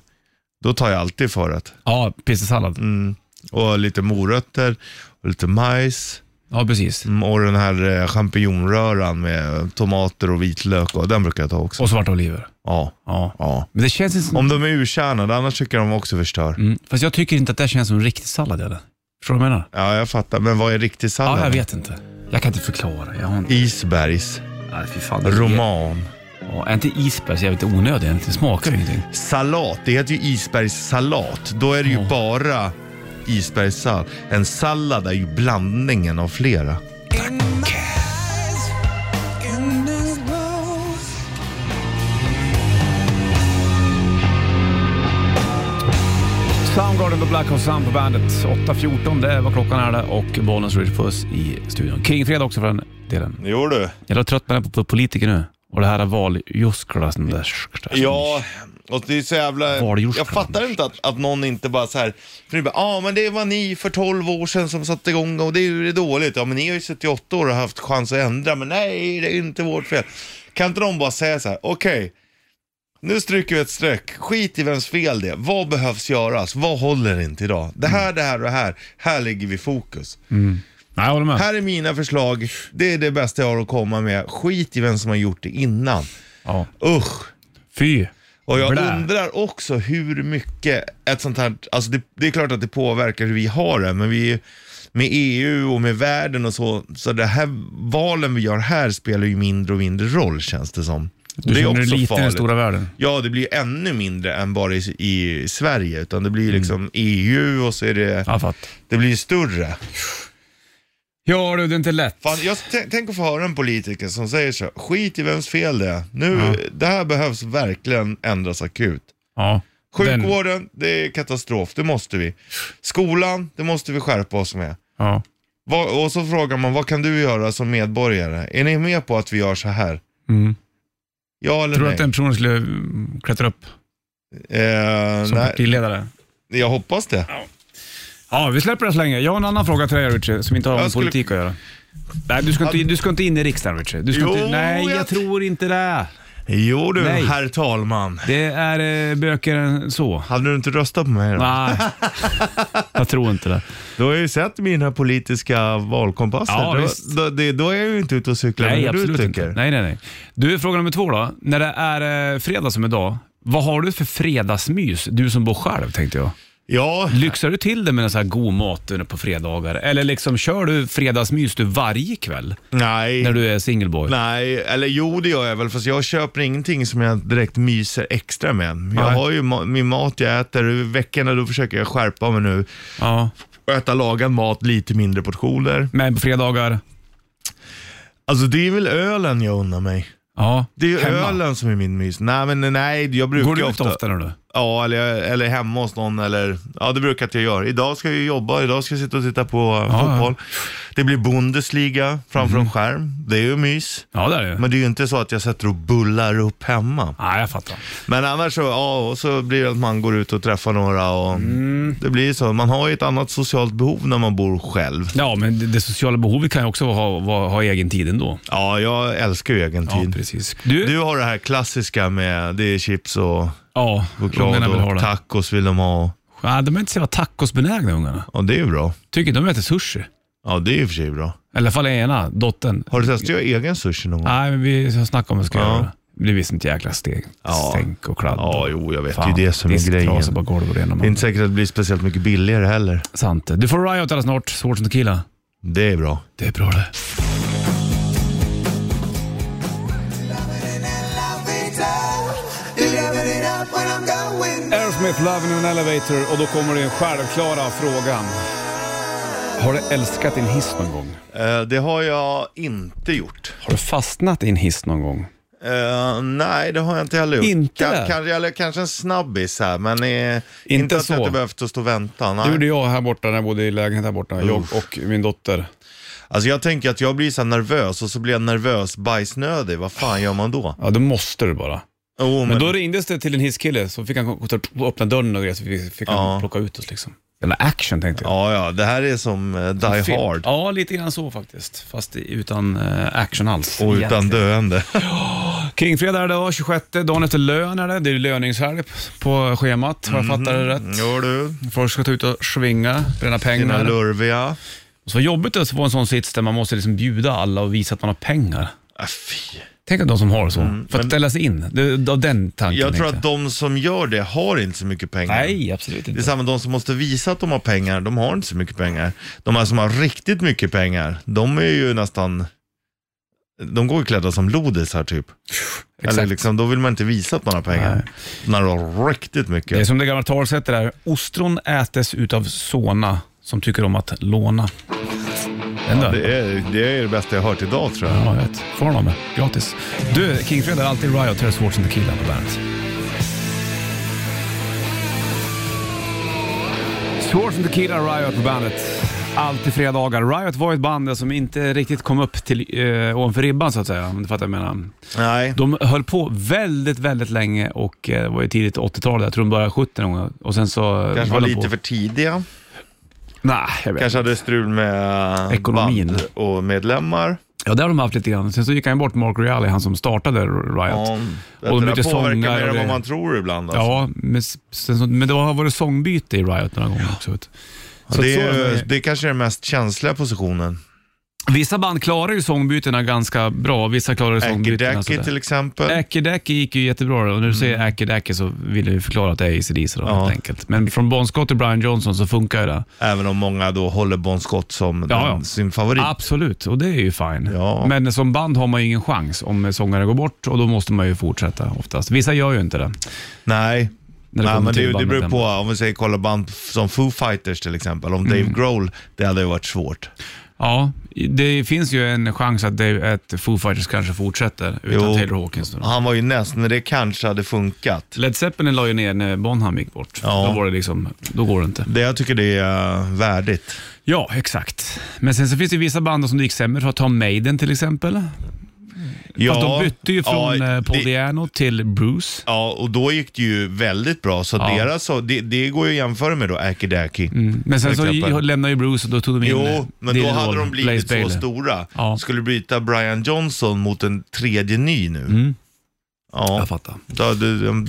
Speaker 3: Då tar jag alltid förrätt.
Speaker 2: Ja, pizzasallad.
Speaker 3: Mm. Och lite morötter, och lite majs
Speaker 2: Ja, precis.
Speaker 3: mm, och den här eh, champinjonröran med tomater och vitlök. Och den brukar jag ta också.
Speaker 2: Och svarta oliver.
Speaker 3: Ja.
Speaker 2: Ja.
Speaker 3: ja.
Speaker 2: Men det känns inte som...
Speaker 3: Om de är urkärnade, annars tycker jag de också förstör.
Speaker 2: Mm. Fast jag tycker inte att det känns som riktig sallad. Eller? Förstår du vad jag menar?
Speaker 3: Ja, jag fattar. Men vad är riktig
Speaker 2: Ja,
Speaker 3: sallad?
Speaker 2: jag vet inte. Jag kan inte förklara. Jag har inte...
Speaker 3: Isbergs,
Speaker 2: Nej, fy fan. det är-
Speaker 3: roman,
Speaker 2: Ja, är inte isberg så jävligt onödig egentligen? Det smakar ju ingenting.
Speaker 3: salat. Det heter ju isbergssalat. Då är det ju
Speaker 2: Ja.
Speaker 3: bara isbergssallad. En sallad är ju blandningen av flera.
Speaker 2: Soundgarden och Black Hole Sun på bandet. 8.14, det var klockan är det. Och Bollnäs Rich Puss i studion. Kingfredag också för den delen.
Speaker 3: Jo du.
Speaker 2: Jag är trött på, den- på politiker nu. Och det här är valjuskla. sån där-
Speaker 3: Ja, och Alltså, det är så jävla...
Speaker 2: Valjorskland.
Speaker 3: Jag fattar inte att, att någon inte bara så här... För det är bara, ah, men det var ni för 12 år sedan som satte igång och det är ju dåligt. Ja, men ni har ju suttit i åtta år och haft chans att ändra, men nej, det är inte vårt fel. Kan inte de bara säga så här, okej, nu stryker vi ett streck. Skit i vems fel det är. Vad behövs göras? Vad håller inte idag? Det här, det här och det här. Här ligger vi fokus.
Speaker 2: Nej, jag håller med.
Speaker 3: Här är mina förslag. Det är det bästa jag har att komma med. Skit i vem som har gjort det innan.
Speaker 2: Ja.
Speaker 3: Usch.
Speaker 2: Fy.
Speaker 3: Och jag
Speaker 2: Blä.
Speaker 3: undrar också hur mycket ett sånt här, alltså det, det är klart att det påverkar hur vi har det, men vi med EU och med världen och så, så det här valen vi gör här spelar ju mindre och mindre roll känns det som.
Speaker 2: Du
Speaker 3: det är
Speaker 2: känner dig
Speaker 3: också
Speaker 2: liten i den
Speaker 3: farligt.
Speaker 2: stora världen.
Speaker 3: Ja, det blir ju ännu mindre än bara i, i Sverige, utan det blir ju liksom EU och så är det,
Speaker 2: Jag fattar.
Speaker 3: det blir ju större.
Speaker 2: Ja du, det är inte lätt.
Speaker 3: Fan, jag, t- tänk att få höra en politiker som säger så, skit i vems fel det är. Nu, det här behövs verkligen ändras akut.
Speaker 2: Ja. Den-
Speaker 3: Sjukvården, det är katastrof, det måste vi. Skolan, det måste vi skärpa oss med.
Speaker 2: Ja.
Speaker 3: Vad, och så frågar man, vad kan du göra som medborgare? Är ni med på att vi gör så här?
Speaker 2: Mm.
Speaker 3: Ja eller
Speaker 2: Tror du
Speaker 3: nej?
Speaker 2: att den personen skulle mm, klättra upp
Speaker 3: Eh,
Speaker 2: som
Speaker 3: nej?
Speaker 2: partiledare?
Speaker 3: Jag hoppas det.
Speaker 2: Ja, vi släpper det så länge. Jag har en annan fråga till dig Richie, som inte har
Speaker 3: Jag
Speaker 2: med
Speaker 3: skulle-
Speaker 2: politik att göra. Nej, du ska inte, du ska inte in i riksdagen Richie. Du ska
Speaker 3: Jo,
Speaker 2: inte, nej, jag...
Speaker 3: jag-
Speaker 2: tror inte det.
Speaker 3: Jo du,
Speaker 2: Nej.
Speaker 3: herr talman.
Speaker 2: Det är eh, böcker än så.
Speaker 3: Hade du inte röstat på mig då?
Speaker 2: Nej, jag tror inte det.
Speaker 3: Du har ju sett mina politiska valkompasser.
Speaker 2: Ja,
Speaker 3: då,
Speaker 2: visst.
Speaker 3: då, det, då är jag ju inte ute och cyklar
Speaker 2: Nej,
Speaker 3: med hur du
Speaker 2: absolut
Speaker 3: tycker.
Speaker 2: inte. Nej, nej, nej. Du, fråga nummer två då. När det är eh, fredag som idag, vad har du för fredagsmys? Du som bor själv tänkte jag.
Speaker 3: Ja,
Speaker 2: Lyxar du till det med en sån här god mat under på fredagar? Eller liksom kör du fredagsmys du varje kväll
Speaker 3: nej.
Speaker 2: när du är singelboy?
Speaker 3: Nej, eller jo det gör jag väl, fast jag köper ingenting som jag direkt myser extra med. Jag
Speaker 2: Nej.
Speaker 3: har ju ma- min mat jag äter, veckorna då försöker jag skärpa mig nu.
Speaker 2: Ja.
Speaker 3: Och äta lagad mat, lite mindre portioner.
Speaker 2: Men på fredagar?
Speaker 3: Alltså det är väl ölen jag unnar mig.
Speaker 2: Ja.
Speaker 3: Det är ju
Speaker 2: hemma.
Speaker 3: ölen som är min mys. Nej, men nej, jag brukar
Speaker 2: Går du ut
Speaker 3: ofta...
Speaker 2: ofta nu? då?
Speaker 3: Ja, eller, eller hemma hos någon. Eller, ja, det brukar jag att jag gör. Idag ska jag ju jobba, idag ska jag sitta och titta på
Speaker 2: ja. Mhm.
Speaker 3: fotboll. Det blir Bundesliga framför en skärm. Det är ju mys.
Speaker 2: Ja, det är det.
Speaker 3: Men det är ju inte så att jag sätter och bullar upp hemma.
Speaker 2: Nej, jag fattar.
Speaker 3: Men annars så, ja, och så blir det att man går ut och träffar några och
Speaker 2: Mm.
Speaker 3: det blir ju så. Man har ju ett annat socialt behov när man bor själv.
Speaker 2: Ja, men det, det sociala behovet kan ju också ha, ha, ha egen tid ändå.
Speaker 3: Ja, jag älskar ju egen
Speaker 2: Ja,
Speaker 3: tid.
Speaker 2: precis. Du,
Speaker 3: Du har det här klassiska med, det är chips och
Speaker 2: ja,
Speaker 3: choklad
Speaker 2: ungarna vill ha
Speaker 3: och
Speaker 2: det.
Speaker 3: tacos vill de ha.
Speaker 2: Ja, de är inte så jävla tacosbenägna ungarna.
Speaker 3: Ja, det är ju bra.
Speaker 2: Tycker de äter sushi. I
Speaker 3: Ja, det är ju i och för sig bra.
Speaker 2: alla fall ena, dottern.
Speaker 3: Har du testat att göra egen sushi någon gång?
Speaker 2: Nej, men vi har snackat om att vi ska
Speaker 3: Ja.
Speaker 2: göra det. Det blir visst ett jäkla steg.
Speaker 3: Ja.
Speaker 2: Stänk och kladd.
Speaker 3: Ja,
Speaker 2: och-
Speaker 3: jo, jag vet.
Speaker 2: Fan,
Speaker 3: det är ju det som är
Speaker 2: disktrasor
Speaker 3: grejen.
Speaker 2: bara golv och det ena
Speaker 3: Det är
Speaker 2: med
Speaker 3: inte säkert att det blir speciellt mycket billigare heller.
Speaker 2: andra. Sant. Du får riot alldeles snart. Svårt som tequila.
Speaker 3: Det är bra.
Speaker 2: Det är bra det. Aerosmith, Love in an elevator och då kommer den självklara frågan. Har du älskat din hiss någon gång?
Speaker 3: Eh, det har jag inte gjort.
Speaker 2: Har du fastnat i en hiss någon gång?
Speaker 3: Eh, nej, det har jag inte heller gjort.
Speaker 2: Inte?
Speaker 3: Ka- kanske, eller kanske en snabbis här, men eh, inte, att
Speaker 2: så.
Speaker 3: jag inte behövt att stå och vänta.
Speaker 2: Det
Speaker 3: Nej.
Speaker 2: gjorde jag här borta när jag bodde i lägenhet här borta. Jag
Speaker 3: Uff.
Speaker 2: och min dotter.
Speaker 3: Alltså jag tänker att jag blir så här nervös och så blir jag nervös bajsnödig. Vad fan gör man då?
Speaker 2: Ja, då måste du bara.
Speaker 3: Oh,
Speaker 2: Men då ringdes det till en hisskille så fick han gå- gå- öppna dörren och grejer så fick- fick han
Speaker 3: Ja.
Speaker 2: plocka ut oss liksom. Den där action tänkte jag.
Speaker 3: Ja, ja, det här är som eh, Die
Speaker 2: Film.
Speaker 3: Hard.
Speaker 2: Ja, lite grann så faktiskt. Fast i- utan eh, action alls.
Speaker 3: Och utan döende.
Speaker 2: Kringfredag är det idag, 26, dagen efter lön är det. Det är löningshelg på schemat, har jag fattat
Speaker 3: Mhm.
Speaker 2: det rätt.
Speaker 3: Gör du?
Speaker 2: Folk ska ta ut och svinga, bränna
Speaker 3: Dina
Speaker 2: pengar.
Speaker 3: lurviga.
Speaker 2: Så vad jobbigt det är att vara i en sån sits där man måste liksom bjuda alla och visa att man har pengar.
Speaker 3: Ah, fy.
Speaker 2: Tänk att de som har det så, för att ställa sig in. Det, av den tanken.
Speaker 3: Mm, Jag tror
Speaker 2: tänkte
Speaker 3: att de som gör det har inte så mycket pengar.
Speaker 2: Nej, absolut
Speaker 3: Det är
Speaker 2: inte.
Speaker 3: samma de som måste visa att de har pengar, de har inte så mycket pengar. De här som har riktigt mycket pengar, de är ju nästan, de går ju klädda som lodisar typ. Eller
Speaker 2: Exakt.
Speaker 3: liksom, då vill man inte visa att man har pengar.
Speaker 2: Nej.
Speaker 3: När du har riktigt mycket.
Speaker 2: Det är som det gamla talsättet där, ostron ätes utav såna som tycker om att låna. Den
Speaker 3: Ja,
Speaker 2: dör.
Speaker 3: det, är, det är det bästa jag hört idag tror jag.
Speaker 2: Ja, jag vet. Får honom med. Gratis. Du, Kingfredag är alltid Riot, Taylor Swift and Tequila på bandet. Swords and Tequila, Riot på bandet. Alltid fredagar. Riot var ett band som inte riktigt kom upp till eh, ovanför ribban så att säga, om du fattar vad jag menar.
Speaker 3: Nej.
Speaker 2: De höll på väldigt, väldigt länge och eh, det var ju tidigt 80-tal, där. jag tror de började 70 någon gång. Och sen så
Speaker 3: Kanske var
Speaker 2: höll de
Speaker 3: lite
Speaker 2: på.
Speaker 3: för tidiga.
Speaker 2: Nej, jag vet
Speaker 3: Kanske hade strul med
Speaker 2: Ekonomin.
Speaker 3: band och medlemmar.
Speaker 2: Ja, det har de haft lite grann. Sen så gick han bort, Mark Reilly, han som startade Riot.
Speaker 3: Ja,
Speaker 2: Och de
Speaker 3: det
Speaker 2: bytte
Speaker 3: där påverkar
Speaker 2: sångare
Speaker 3: mer
Speaker 2: och
Speaker 3: än
Speaker 2: det-
Speaker 3: vad man tror ibland. Alltså.
Speaker 2: Ja, men, s- sen, så- men det har varit sångbyte i Riot några gånger också. vet du. Så
Speaker 3: det,
Speaker 2: att så är
Speaker 3: är,
Speaker 2: det.
Speaker 3: det är kanske är den mest känsliga positionen.
Speaker 2: Vissa band klarar ju sångbytena ganska bra, vissa klarar ju sångbytena
Speaker 3: Äkidäki
Speaker 2: sådär.
Speaker 3: till exempel. Mm.
Speaker 2: Äkidäki gick ju jättebra då. och när du säger Äkidäki så vill jag ju förklara att det är ACDC då
Speaker 3: Ja.
Speaker 2: helt enkelt. Men från Bon Scott till Brian Johnson så funkar ju det.
Speaker 3: Även om många då håller Bon Scott som
Speaker 2: Ja, ja.
Speaker 3: den, sin favorit.
Speaker 2: Absolut, och det är ju fine.
Speaker 3: Ja.
Speaker 2: Men som band har man ju ingen chans om sångaren går bort och då måste man ju fortsätta oftast. Vissa gör ju inte det.
Speaker 3: Nej.
Speaker 2: När det
Speaker 3: Nej,
Speaker 2: kommer
Speaker 3: men
Speaker 2: till
Speaker 3: det, det
Speaker 2: bandet
Speaker 3: beror
Speaker 2: hemma. Mm.
Speaker 3: på. Om vi säger kolla band som Foo Fighters till exempel. Om Dave Grohl, det hade ju varit svårt.
Speaker 2: Ja, det finns ju en chans att, det, att Foo Fighters kanske fortsätter utan
Speaker 3: Jo.
Speaker 2: Taylor Hawkins. Då.
Speaker 3: Han var ju näst, men det kanske hade funkat.
Speaker 2: Led Zeppelin la ju ner när Bonham gick bort.
Speaker 3: Ja.
Speaker 2: Då var det liksom, då går det inte.
Speaker 3: Det jag tycker det är eh, värdigt.
Speaker 2: Ja, exakt. Men sen så finns det ju vissa band som det gick sämre för. Ta Maiden till exempel.
Speaker 3: Ja,
Speaker 2: Fast de bytte ju från
Speaker 3: ja,
Speaker 2: eh, Paul
Speaker 3: det-
Speaker 2: Diano till Bruce.
Speaker 3: Ja, och då gick det ju väldigt bra. Så
Speaker 2: Ja.
Speaker 3: deras, så- det, det går ju att jämföra med då Akidaki.
Speaker 2: Mm. Men sen
Speaker 3: Till
Speaker 2: så
Speaker 3: exempel.
Speaker 2: lämnade ju Bruce och då tog de in eh,
Speaker 3: Jo, men då
Speaker 2: din
Speaker 3: hade
Speaker 2: idol,
Speaker 3: de blivit
Speaker 2: Blaze
Speaker 3: så
Speaker 2: Bayley.
Speaker 3: stora.
Speaker 2: Ja.
Speaker 3: Skulle byta Brian Johnson mot en tredje ny
Speaker 2: Mm.
Speaker 3: nu. Ja,
Speaker 2: Jag fattar.
Speaker 3: då, det, um,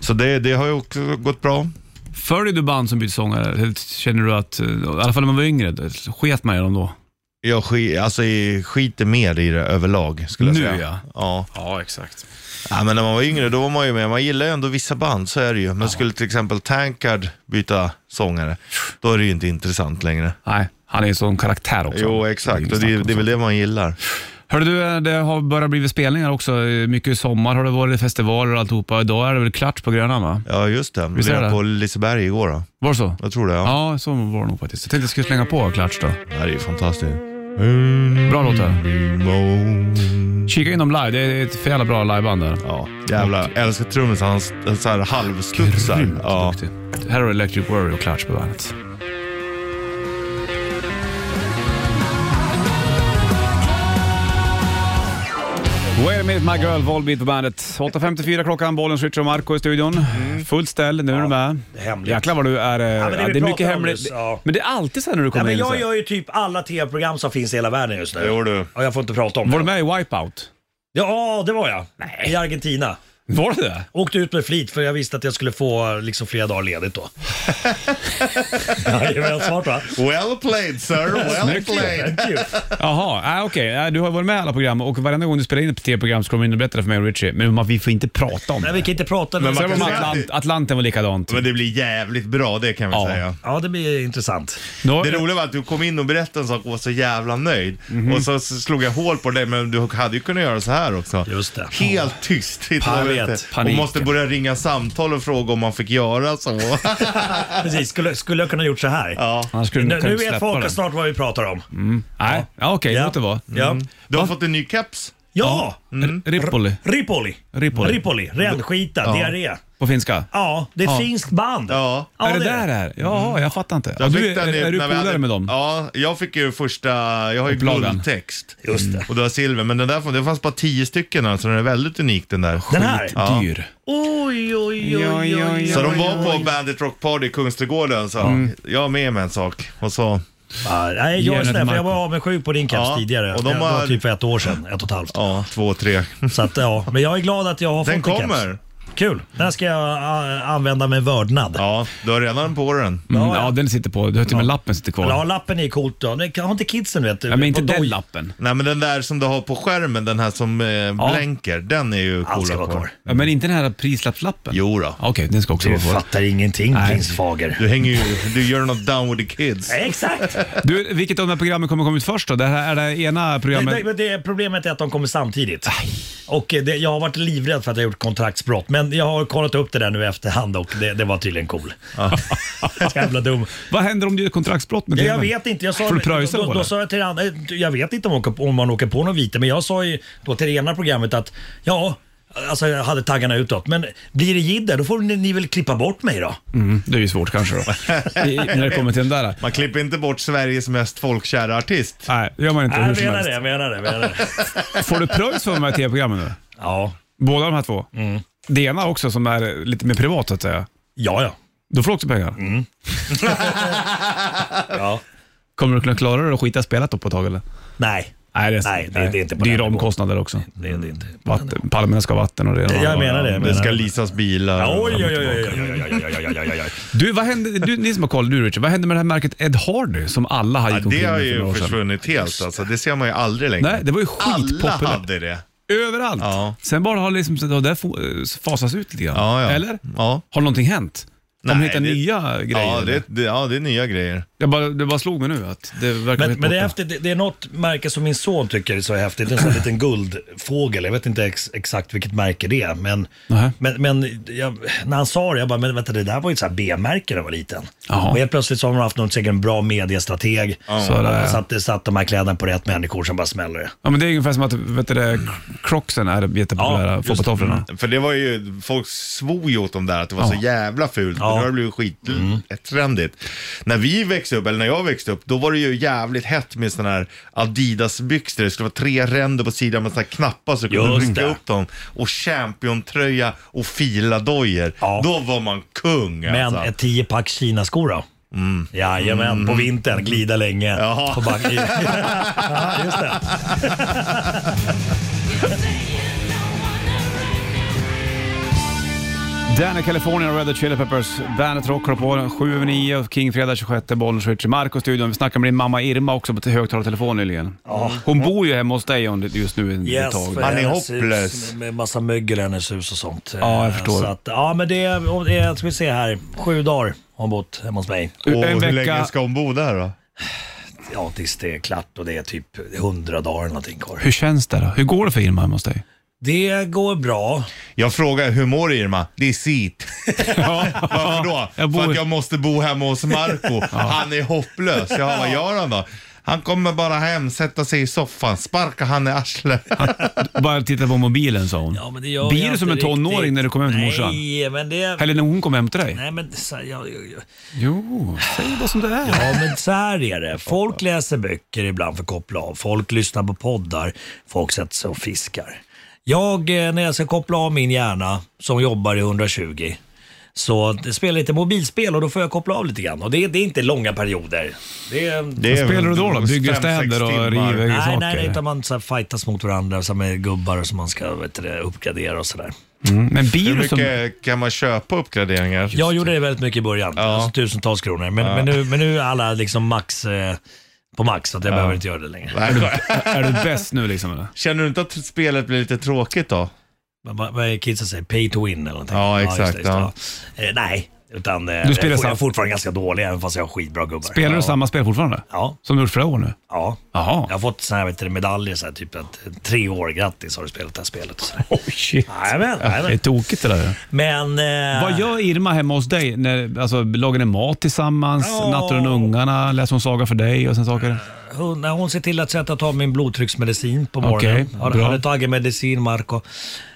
Speaker 3: så det, det har ju också gått bra.
Speaker 2: Följer du band som byter sångare? Eller Känner du att, eh, i alla fall när man var yngre, då sket man i dem då?
Speaker 3: Jag sk, alltså, jag skiter mer i det överlag skulle jag
Speaker 2: Nu,
Speaker 3: säga.
Speaker 2: ja.
Speaker 3: ja.
Speaker 2: Ja, exakt.
Speaker 3: Ja, men när man var yngre då var man ju med. Man gillar ju ändå vissa band, så är det ju. Men skulle till exempel Tankard byta sångare, då är det ju inte intressant längre.
Speaker 2: Nej, han är ju en sån karaktär också.
Speaker 3: Jo, exakt. Och
Speaker 2: inget snack
Speaker 3: det,
Speaker 2: om
Speaker 3: det är väl det man gillar.
Speaker 2: Hörru du, eh, det har börjat bli spelningar också. Eh, Mycket i sommar har det varit, festivaler och alltihopa. Idag är det väl klart på Grönan va?
Speaker 3: Ja, just det. Vi
Speaker 2: Visst är det?
Speaker 3: var på Liseberg igår då.
Speaker 2: Var det så?
Speaker 3: Jag tror det, ja.
Speaker 2: Ja, så var det nog faktiskt. Jag tänkte jag skulle slänga på klart då.
Speaker 3: Det här är ju fantastiskt.
Speaker 2: Bra låtar. Kika in dem live, det är ett för jävla bra liveband där.
Speaker 3: Ja, jävlar. Jag älskar trummisen. Han s- så här halvstudsar.
Speaker 2: Grymt
Speaker 3: Ja.
Speaker 2: duktig. Här har du Electric Warrior och Clutch på bandet. Wait a minute my girl, Volbeat på bandet. 8.54 klockan, Bollens Richard och Marco i studion. Fullt ställ, nu är du med.
Speaker 7: Mm. det är hemligt.
Speaker 2: Jäklar vad du är... eh,
Speaker 7: men det vi
Speaker 2: det är mycket
Speaker 7: pratade om
Speaker 2: hemligt.
Speaker 7: nyss, ja.
Speaker 2: Men det är alltid så här när du
Speaker 7: Ja,
Speaker 2: kommer
Speaker 7: men
Speaker 2: in. så
Speaker 7: jag
Speaker 2: här.
Speaker 7: gör ju typ alla tv-program som finns i hela världen just nu.
Speaker 3: Jo, du.
Speaker 7: Och jag får inte prata om
Speaker 2: Var
Speaker 7: det.
Speaker 2: du med i Wipeout?
Speaker 7: Ja, det var jag. I Argentina.
Speaker 2: Var du det?
Speaker 7: Åkte ut med flit för jag visste att jag skulle få liksom flera dagar ledigt då. Jajamän, smart va?
Speaker 3: Well played sir, well played.
Speaker 7: Thank you.
Speaker 2: Jaha, äh, okej. Äh, du har varit med i alla program och varenda gång du spelar in ett tv-program så kommer du in och berättar för mig och Richie. Men man, vi får inte prata om
Speaker 7: Nej,
Speaker 2: det.
Speaker 7: vi kan inte prata nu.
Speaker 3: Men man
Speaker 2: Sen var
Speaker 3: kan
Speaker 2: man
Speaker 3: säga-
Speaker 2: Atlant, Atlanten var likadant.
Speaker 3: Men det blir jävligt bra, det kan vi
Speaker 2: Ja.
Speaker 3: säga.
Speaker 7: Ja, det blir intressant.
Speaker 2: Då-
Speaker 3: Det roliga var att du kom in och berättade en sak och var så jävla nöjd.
Speaker 2: Mhm.
Speaker 3: Och så slog jag hål på dig, men du hade ju kunnat göra så här också.
Speaker 7: Just det.
Speaker 3: Helt tyst. Titta,
Speaker 7: Jag
Speaker 3: vad
Speaker 7: vet.
Speaker 3: vet jag. Och
Speaker 2: Paniken.
Speaker 3: måste börja ringa samtal och fråga om man fick göra så.
Speaker 7: Precis, skulle, skulle jag kunna gjort så här?
Speaker 2: Annars skulle du
Speaker 7: Nu,
Speaker 2: inte
Speaker 7: nu
Speaker 2: kunna
Speaker 7: vet
Speaker 2: släppa
Speaker 7: folk
Speaker 2: den.
Speaker 7: snart vad vi pratar om.
Speaker 2: Nej, ja, okej, låt det Mm. vara.
Speaker 7: Ja.
Speaker 3: Du har fått en ny keps.
Speaker 7: ja.
Speaker 3: Mm.
Speaker 2: Ripoli
Speaker 7: Ripoli.
Speaker 2: Ripoli.
Speaker 7: Ripoli. Rännskita, diarré.
Speaker 2: på finska.
Speaker 7: Ja, det är ett
Speaker 2: Ja.
Speaker 7: finskt band.
Speaker 3: Ja.
Speaker 2: är det, där det är?
Speaker 7: Mm.
Speaker 2: Ja, jag fattar inte. Ja,
Speaker 3: Jag
Speaker 2: du,
Speaker 3: fick den
Speaker 2: är,
Speaker 3: i-
Speaker 2: är du
Speaker 3: när vi
Speaker 2: polare
Speaker 3: hade-
Speaker 2: med dem?
Speaker 3: Ja, jag fick ju första, jag har ju
Speaker 2: Upplagan.
Speaker 3: guldtext.
Speaker 7: Just det.
Speaker 3: Och du har silver, men den där, det fanns bara tio stycken här, så den är väldigt unik den där.
Speaker 7: Den här?
Speaker 3: Ja.
Speaker 2: Dyr.
Speaker 7: Oj, oj, oj, oj, oj.
Speaker 3: Så de var på Bandit Rock Party i Kungsträdgården så
Speaker 7: Mm.
Speaker 3: jag är med med en sak. Och så,
Speaker 7: Ja, nej,
Speaker 2: Ge
Speaker 7: jag är
Speaker 2: den till
Speaker 7: snäll för jag
Speaker 2: Marco.
Speaker 7: var avundsjuk på din keps
Speaker 3: Ja,
Speaker 7: tidigare.
Speaker 3: och de
Speaker 7: det var
Speaker 3: har-
Speaker 7: typ för ett år sedan, ett och ett halvt.
Speaker 3: ja, två, tre.
Speaker 7: Så att, ja. Men jag är glad att jag har
Speaker 3: Den
Speaker 7: fått en
Speaker 3: kommer.
Speaker 7: keps. Kul! Den här ska jag äh, använda med vördnad. Ja.
Speaker 3: Ja, du har redan på den.
Speaker 2: Mm, ja, den sitter på. Du har till och med lappen sitter kvar.
Speaker 7: Ja, lappen är coolt då. Men Har inte kidsen vet du?
Speaker 2: ja, men inte
Speaker 7: på
Speaker 2: den
Speaker 7: doj-
Speaker 2: lappen.
Speaker 3: Nej men den där som du har på skärmen, den här som eh, blänker, den är ju
Speaker 7: Allt ska
Speaker 3: coolare
Speaker 7: vara
Speaker 3: på.
Speaker 7: kvar.
Speaker 2: Ja, men inte den här prislappslappen?
Speaker 3: Jo då.
Speaker 2: Okej, den ska också
Speaker 7: Du
Speaker 2: vara kvar.
Speaker 7: fattar ingenting prins Fager.
Speaker 3: Du hänger ju, du gör något down with the kids.
Speaker 7: Nej, Exakt!
Speaker 2: Du, vilket av de här programmen kommer komma ut först då? Det här är det ena programmet...
Speaker 7: Det, det, det, problemet är att de kommer samtidigt. Och eh, det, jag har varit livrädd för att jag gjort kontraktsbrott, men jag har kollat upp det där nu i efterhand och det, det var tydligen cool. Jävla dum.
Speaker 2: Vad händer om du gör kontraktsbrott med
Speaker 7: Ja, Jag
Speaker 2: TV:n?
Speaker 7: vet inte. Jag sa,
Speaker 2: Får du pröjsa
Speaker 7: då,
Speaker 2: då,
Speaker 7: då,
Speaker 2: eller?
Speaker 7: sa jag till det andra, jag vet inte om man, åker- om man åker på någon vite, men jag sa ju då till det ena programmet att ja, alltså jag hade taggarna utåt, men blir det jidder då får ni, ni väl klippa bort mig då.
Speaker 2: Mm, det är ju svårt kanske då. I, när det kommer till den där.
Speaker 3: Man klipper inte bort Sveriges mest folkkära artist.
Speaker 2: Nej, det gör man inte
Speaker 7: Nej,
Speaker 2: hur
Speaker 7: jag
Speaker 2: som
Speaker 7: menar
Speaker 2: helst.
Speaker 7: det, jag menar det, jag menar det.
Speaker 2: Får du pröjs för de här tv-programmen nu?
Speaker 7: Ja,
Speaker 2: Båda de här två? Det ena också som är lite mer privat så att säga.
Speaker 7: ja, ja.
Speaker 2: Då får du också pengar.
Speaker 7: ja.
Speaker 2: Kommer du kunna klara det och skita i spelet då på ett tag eller?
Speaker 7: Nej,
Speaker 2: Nej, det är,
Speaker 7: Nej, det- det är inte på
Speaker 2: Dyra
Speaker 7: den nivån.
Speaker 2: omkostnader också.
Speaker 7: det, det är inte.
Speaker 2: Vatten, palmerna ska ha vatten och det ena och
Speaker 7: Jag
Speaker 2: andra.
Speaker 7: menar det. Jag menar
Speaker 3: Det ska
Speaker 7: det.
Speaker 3: leasas bilar.
Speaker 7: Ja, Oj, oj, oj, oj, oj, oj, oj, oj, oj, oj, oj, oj.
Speaker 2: Du, vad hände, du, ni som har koll, du Richard, vad hände med det här märket Ed Hardy som alla har
Speaker 3: Ja,
Speaker 2: gick omkring
Speaker 3: det har
Speaker 2: med för några
Speaker 3: ju
Speaker 2: år sedan?
Speaker 3: försvunnit helt alltså. Det ser man ju aldrig längre.
Speaker 2: Nej, det var ju
Speaker 3: Alla
Speaker 2: skitpopulärt.
Speaker 3: hade det.
Speaker 2: Överallt.
Speaker 3: Ja.
Speaker 2: Sen bara har liksom, det där fo- fasats ut lite grann.
Speaker 3: Ja, ja.
Speaker 2: Eller?
Speaker 3: Ja.
Speaker 2: Har någonting hänt? De
Speaker 3: Nej,
Speaker 2: hittar
Speaker 3: det-
Speaker 2: nya grejer.
Speaker 3: Ja
Speaker 2: eller?
Speaker 3: det, det, ja, det är nya grejer.
Speaker 2: Jag bara, det bara slog mig nu att det verkar
Speaker 7: Men,
Speaker 2: helt
Speaker 7: men det, är
Speaker 2: borta.
Speaker 7: häftigt, det- det är något märke som min son tycker är så häftigt. En sån liten guldfågel. Jag vet inte ex, exakt vilket märke det är. Men,
Speaker 2: Nähä.
Speaker 7: men, men jag, när han sa det, jag bara, men vänta det där var ju ett så här B-märke när jag var liten.
Speaker 2: Jaha.
Speaker 7: Och helt plötsligt så har man haft någon, säkert en bra mediestrateg.
Speaker 2: Så är det.
Speaker 7: Så att det satt de här kläderna på rätt människor som bara smäller det.
Speaker 2: Ja, men det är ungefär som att vet du, det, Crocsen är jättepopulära,
Speaker 7: Ja, just det. Mm.
Speaker 2: fotbolltofflorna.
Speaker 3: För det var ju, folk svor ju åt dem där att det var så jävla fult. Ja.
Speaker 7: Ja. Mm.
Speaker 3: Det har det blivit skittrendigt. När vi växte upp, eller när jag växte upp, då var det ju jävligt hett med sådana här Adidas-byxor. Det skulle vara tre ränder på sidan med sådana här knappar så kunde du
Speaker 7: Just
Speaker 3: rycka
Speaker 7: det.
Speaker 3: upp dem. Och Champion-tröja och filadojor.
Speaker 7: Ja.
Speaker 3: Då var man kung
Speaker 7: Men
Speaker 3: alltså.
Speaker 7: ett 10 pack Kinaskor då?
Speaker 2: Mm.
Speaker 7: Jajamän, på vintern, glida länge.
Speaker 3: Jaha.
Speaker 7: På back- ja, just det.
Speaker 2: Danny California och Red Hot Chili Peppers. Bandet rockar på 7 över 9 och King fredag 26. Bollnäs Richie Marco i studion. Vi snackade med din mamma Irma också på högtalartelefon nyligen. Mm. Hon bor ju hemma hos dig om det- just nu ett
Speaker 7: Yes,
Speaker 2: tag.
Speaker 7: för
Speaker 3: Han är
Speaker 7: hennes hus
Speaker 3: hopplös.
Speaker 7: Med, med massa mögel i hennes hus och sånt.
Speaker 2: Ja, jag
Speaker 7: Eh,
Speaker 2: förstår.
Speaker 7: Så att, ja, men det är, och det är- ska vi se här, sju dagar har hon bott hemma hos mig.
Speaker 2: En
Speaker 3: och hur
Speaker 2: vecka-
Speaker 3: länge ska hon bo där då?
Speaker 7: Ja, tills det är klart och det är typ hundra dagar eller någonting kvar.
Speaker 2: Hur känns det då? Hur går det för Irma hemma hos dig?
Speaker 7: Det går bra.
Speaker 3: Jag frågar, hur mår Irma? Det är sit. Varför då?
Speaker 2: jag bor-
Speaker 3: För att jag måste bo hemma hos Marco. Han är hopplös. Jaha, vad gör han då? Han kommer bara hem, sätta sig i soffan, sparka han i arslet.
Speaker 2: Bara titta på mobilen sa hon.
Speaker 7: Ja, men det gör
Speaker 2: Blir
Speaker 7: jag
Speaker 2: du som en
Speaker 7: inte
Speaker 2: tonåring
Speaker 7: riktigt.
Speaker 2: när du kommer hem till morsan?
Speaker 7: Nej, men det...
Speaker 2: Eller när hon kom hem till dig?
Speaker 7: Nej, men så, ja, ja, ja.
Speaker 2: Jo, säg vad som det är.
Speaker 7: ja, men så här är det. Folk läser böcker ibland för att koppla av. Folk lyssnar på poddar. Folk sätter sig och fiskar. Jag, eh, när jag ska koppla av min hjärna som jobbar i 120, så det spelar lite mobilspel och då får jag koppla av lite grann. Och det, det är inte långa perioder. Det är
Speaker 3: Det är
Speaker 2: Vad spelar du då? då? Bygger
Speaker 3: fem, sex
Speaker 2: städer och
Speaker 3: timmar.
Speaker 2: river
Speaker 7: Nej,
Speaker 2: saker?
Speaker 7: nej, nej, utan man så här, fightas mot varandra som är gubbar som man ska vet du, det, uppgradera och sådär.
Speaker 2: Mm, Men blir
Speaker 3: Hur
Speaker 2: du som...
Speaker 3: mycket kan man köpa uppgraderingar?
Speaker 7: Jag gjorde det väldigt mycket i början, alltså, tusentals kronor. Men, men, nu, men nu är alla liksom max, eh, på max, så att jag behöver inte göra det längre.
Speaker 3: Nej, skoja.
Speaker 2: Är du bäst nu liksom? Eller?
Speaker 3: Känner du inte att spelet blir lite tråkigt då?
Speaker 7: Vad- Vad vad kidsen säger, pay to win eller någonting.
Speaker 3: Ja,
Speaker 7: just
Speaker 3: exakt,
Speaker 7: det, just det, ja. Eh, nej, utan eh,
Speaker 2: Du spelar
Speaker 7: jag,
Speaker 2: sam-
Speaker 7: jag är fortfarande ganska dålig även fast jag har skitbra gubbar.
Speaker 2: Spelar du
Speaker 7: ja.
Speaker 2: samma spel fortfarande?
Speaker 7: Ja,
Speaker 2: Som du gjort flera år nu?
Speaker 7: ja. Jag
Speaker 2: Jaha.
Speaker 7: har fått såna här, vet du, medaljer, så här, typ att eh, tre år, grattis har du spelat det här spelet. och så där.
Speaker 2: Oh, shit.
Speaker 7: Jajamän,
Speaker 2: Det är
Speaker 7: jajamän.
Speaker 2: tokigt det där.
Speaker 7: Men... eh,
Speaker 2: Vad gör Irma hemma hos dig? När, alltså, lagar ni mat tillsammans?
Speaker 7: Ja.
Speaker 2: Nattar hon ungarna? Läser hon saga för dig? och sen saker?
Speaker 7: hon, nej, hon ser till att sätta ta min blodtrycksmedicin på morgonen.
Speaker 2: Okej,
Speaker 7: har,
Speaker 2: bra.
Speaker 7: har du tagit medicin Marco?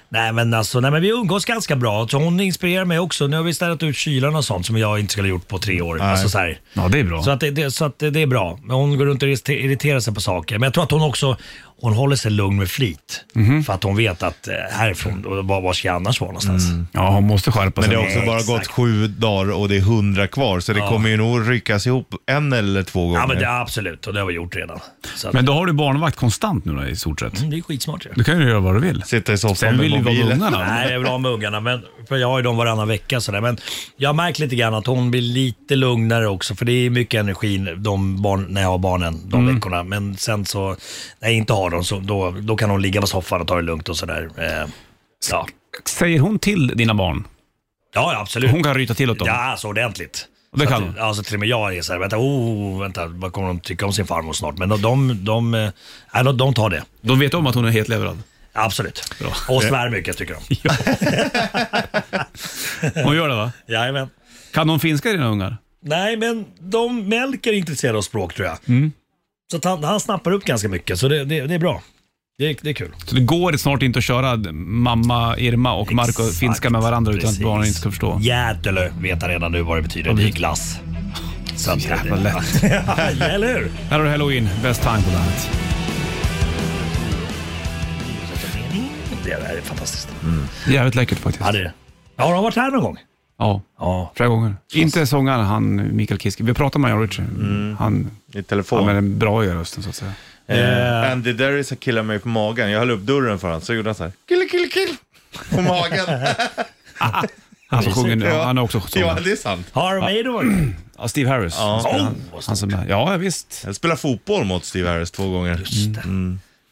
Speaker 7: Nej men alltså, nej men vi umgås ganska bra. Så hon inspirerar mig också. Nu har vi städat ut kylan och sånt som jag inte skulle ha gjort på tre år. Alltså, så här.
Speaker 2: Ja, det är bra.
Speaker 7: Så, att det, det, så att det, det är bra. Men hon går runt och irriter- irriterar sig på saker. Men jag tror att hon också hon håller sig lugn med flit.
Speaker 2: Mhm.
Speaker 7: För att hon vet att eh, härifrån, och var, var ska jag annars vara någonstans?
Speaker 2: Ja, hon måste skärpa sig.
Speaker 3: Men det har också
Speaker 7: Nej,
Speaker 3: bara
Speaker 7: exakt.
Speaker 3: gått sju dagar och det är hundra kvar, så det kommer ju nog ryckas ihop en eller två gånger.
Speaker 7: Ja men det, absolut, och det har vi gjort redan. Så att,
Speaker 2: Men då har du barnvakt konstant nu då, i stort sett.
Speaker 7: mm, det är skitsmart ju.
Speaker 2: Du kan ju göra vad du vill.
Speaker 3: Sitta i soffan
Speaker 2: Sen
Speaker 3: med
Speaker 2: vill du vara med
Speaker 3: mobilen.
Speaker 2: ungarna.
Speaker 7: Nej, jag vill ha med ungarna, men, för jag har ju dem varannan vecka. Sådär. Men jag har märkt lite grann att hon blir lite lugnare också, för det är mycket energi de barn, när jag har barnen de
Speaker 2: Mm.
Speaker 7: veckorna. Men sen så, när jag inte har dem, så, då, då kan hon ligga på soffan och ta det lugnt och sådär. Eh, ja.
Speaker 2: Säger hon till dina barn?
Speaker 7: ja, absolut.
Speaker 2: Hon kan ryta till åt dem?
Speaker 7: Ja, alltså ordentligt.
Speaker 2: Och det
Speaker 7: Så
Speaker 2: kan
Speaker 7: att-
Speaker 2: hon?
Speaker 7: Ja, så till och med jag är såhär, vänta, oh, vänta, vad kommer de tycka om sin farmor snart? Men de, de, de, eh, nej, de, de tar det.
Speaker 2: De vet om att hon är helt leverad.
Speaker 7: Absolut. Och svär mycket tycker de.
Speaker 2: Hon gör det va?
Speaker 7: Jajamän.
Speaker 2: Kan hon finska dina ungar?
Speaker 7: Nej, men de Melker är intresserad av språk tror jag.
Speaker 2: Mm.
Speaker 7: Så att han, han snappar upp ganska mycket, så det, det, det är bra. Det, är- det är kul.
Speaker 2: Så det går snart inte att köra mamma Irma och Marco
Speaker 7: Exakt,
Speaker 2: finska med varandra utan
Speaker 7: precis.
Speaker 2: att barnen inte ska förstå?
Speaker 7: Jädelö vet han redan nu vad det betyder. Det är glass. Så att,
Speaker 2: Jävla lätt.
Speaker 7: ja, eller hur?
Speaker 2: Här har du Halloween, bäst time på bandet.
Speaker 7: Det är fantastiskt.
Speaker 2: Mm. Jävligt läckert faktiskt.
Speaker 7: Ja, det är det. Ja, har han varit här någon gång?
Speaker 2: Ja,
Speaker 7: Ja.
Speaker 2: flera gånger. Inte sångaren, han Mikael Kiske. Vi pratade med Jan Richard.
Speaker 7: Mm.
Speaker 2: Han,
Speaker 3: I
Speaker 2: han är
Speaker 3: telefon.
Speaker 2: den bra i rösten så att säga.
Speaker 3: Eh, Andy Derris har killat mig på magen. Jag höll upp dörren för honom, så gjorde han så här. Kill, kill, kill. På magen.
Speaker 2: Han som sjunger nu, han är också
Speaker 3: Ja,
Speaker 2: sångare.
Speaker 3: det är sant.
Speaker 7: Har de Maiden?
Speaker 2: Ja, Steve Harris.
Speaker 3: Ja.
Speaker 7: Oh,
Speaker 2: Han som är, ja, visst.
Speaker 3: Jag spelade fotboll mot Steve Harris två gånger.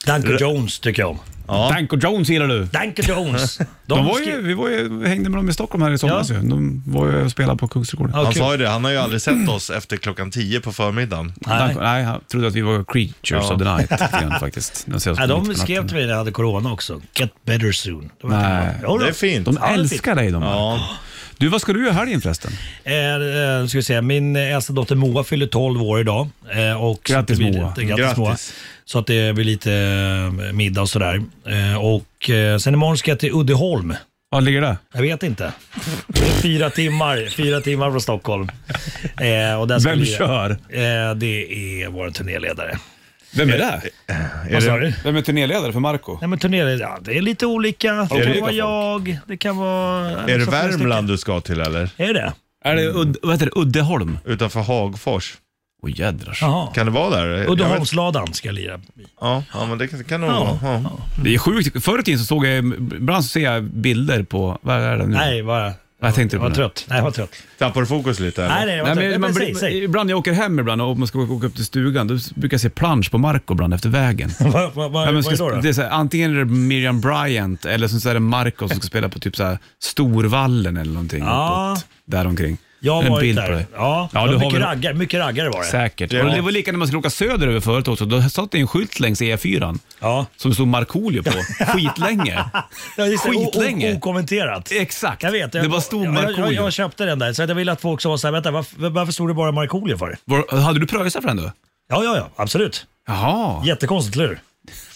Speaker 7: Danko Jones tycker jag om.
Speaker 2: Danko Jones gillar du.
Speaker 7: Danko Jones.
Speaker 2: De var ju,
Speaker 7: skri-
Speaker 2: vi var ju, hängde med dem i Stockholm här i somras ju. De var ju och spelade på Kungsträdgården.
Speaker 7: Ja,
Speaker 3: Han
Speaker 7: kul.
Speaker 3: sa ju det, han har ju aldrig sett oss efter klockan 10 på förmiddagen.
Speaker 2: Nej. Nej, han trodde att vi var creatures
Speaker 3: Ja.
Speaker 2: of the night lite grann, faktiskt. De,
Speaker 7: Nej, de skrev till mig när jag hade corona också. Get better soon. Det var
Speaker 2: Nej.
Speaker 7: inte bra. Jo då.
Speaker 3: Det är fint.
Speaker 2: De
Speaker 7: Ja, det är
Speaker 2: älskar dig de här.
Speaker 3: Ja,
Speaker 2: Du, vad ska du göra i helgen förresten?
Speaker 7: Eh, eh, ska vi säga, min eh, äldsta dotter Moa fyller 12 år idag. Eh, och så att det
Speaker 2: Grattis,
Speaker 7: blir,
Speaker 2: Moa.
Speaker 7: det- Grattis,
Speaker 3: Grattis.
Speaker 7: Moa. Så att det blir lite eh, middag och sådär. Eh, och eh, sen imorgon ska jag till Uddeholm.
Speaker 2: Var ligger det?
Speaker 7: Jag vet inte. Det är Fyra timmar, fyra timmar från Stockholm. Eh, och där ska
Speaker 2: Vem
Speaker 7: vi-
Speaker 2: kör?
Speaker 7: Eh, det är vår turnéledare.
Speaker 2: Vem är det?
Speaker 7: Vad sa du?
Speaker 2: Eh, Vem är turnéledare för Marco?
Speaker 7: Nej, men turnéledare, ja, det är lite olika. Det kan
Speaker 3: det-
Speaker 7: vara jag, det kan vara...
Speaker 3: är det
Speaker 7: liksom flera stycken.
Speaker 3: Värmland du ska till eller?
Speaker 7: Är det det?
Speaker 2: Är det Ud- vad heter det? Uddeholm?
Speaker 3: Utanför Hagfors?
Speaker 2: Åh jädrars.
Speaker 7: Jaha.
Speaker 3: Kan det vara där? Jag vet-
Speaker 7: Uddeholmsladan ska jag lira.
Speaker 3: Ja, ja, men det kan, kan nog
Speaker 7: Ja.
Speaker 3: vara. Ja.
Speaker 2: Det är sjukt. Förr i tiden så såg jag, ibland så ser jag bilder på, vad är det nu?
Speaker 7: Nej, vad
Speaker 2: Vad Mm. tänkte du på
Speaker 7: Jag var
Speaker 2: nu?
Speaker 7: trött. Nej, jag var trött.
Speaker 3: Tappar du fokus lite? eller?
Speaker 7: Nej, nej, jag var
Speaker 2: Nej,
Speaker 7: trött. Nej,
Speaker 2: men man,
Speaker 7: men säg,
Speaker 2: blir-
Speaker 7: säg.
Speaker 2: ibland när jag åker hem ibland och man ska åka upp till stugan, då brukar jag se plansch på Marco ibland efter vägen.
Speaker 7: Vad vad- vad-
Speaker 2: Ja, men
Speaker 7: vad är
Speaker 2: ska,
Speaker 7: då, då?
Speaker 2: det är så här, antingen är det Miriam Bryant eller så är det Marco som ska spela på typ så här Storvallen eller någonting.
Speaker 7: Ja.
Speaker 2: Uppåt, där omkring.
Speaker 7: Jag har
Speaker 2: en
Speaker 7: varit
Speaker 2: bild på
Speaker 7: där.
Speaker 2: dig.
Speaker 7: Ja,
Speaker 2: Ja,
Speaker 7: ja
Speaker 2: du har
Speaker 7: mycket,
Speaker 2: väl-
Speaker 7: raggar, mycket raggare var det.
Speaker 2: Säkert.
Speaker 3: Ja.
Speaker 2: Och det var likadant när man skulle åka söderöver förut också. Då satt det en skylt längs E4
Speaker 7: Ja.
Speaker 2: som stod Markoolio på skitlänge.
Speaker 7: Ja, just det. O- o-
Speaker 2: Skitlänge.
Speaker 7: Okommenterat.
Speaker 2: Exakt.
Speaker 7: Jag vet. Jag,
Speaker 2: det bara stod
Speaker 7: jag, jag, jag,
Speaker 2: Markoolio.
Speaker 7: jag köpte den där, så att jag ville att folk sa såhär, vänta varför, varför stod det bara Markoolio för?
Speaker 2: Var- Hade du pröjsat för den då?
Speaker 7: Ja, ja, ja, absolut.
Speaker 2: Jaha.
Speaker 7: Jättekonstigt, eller hur?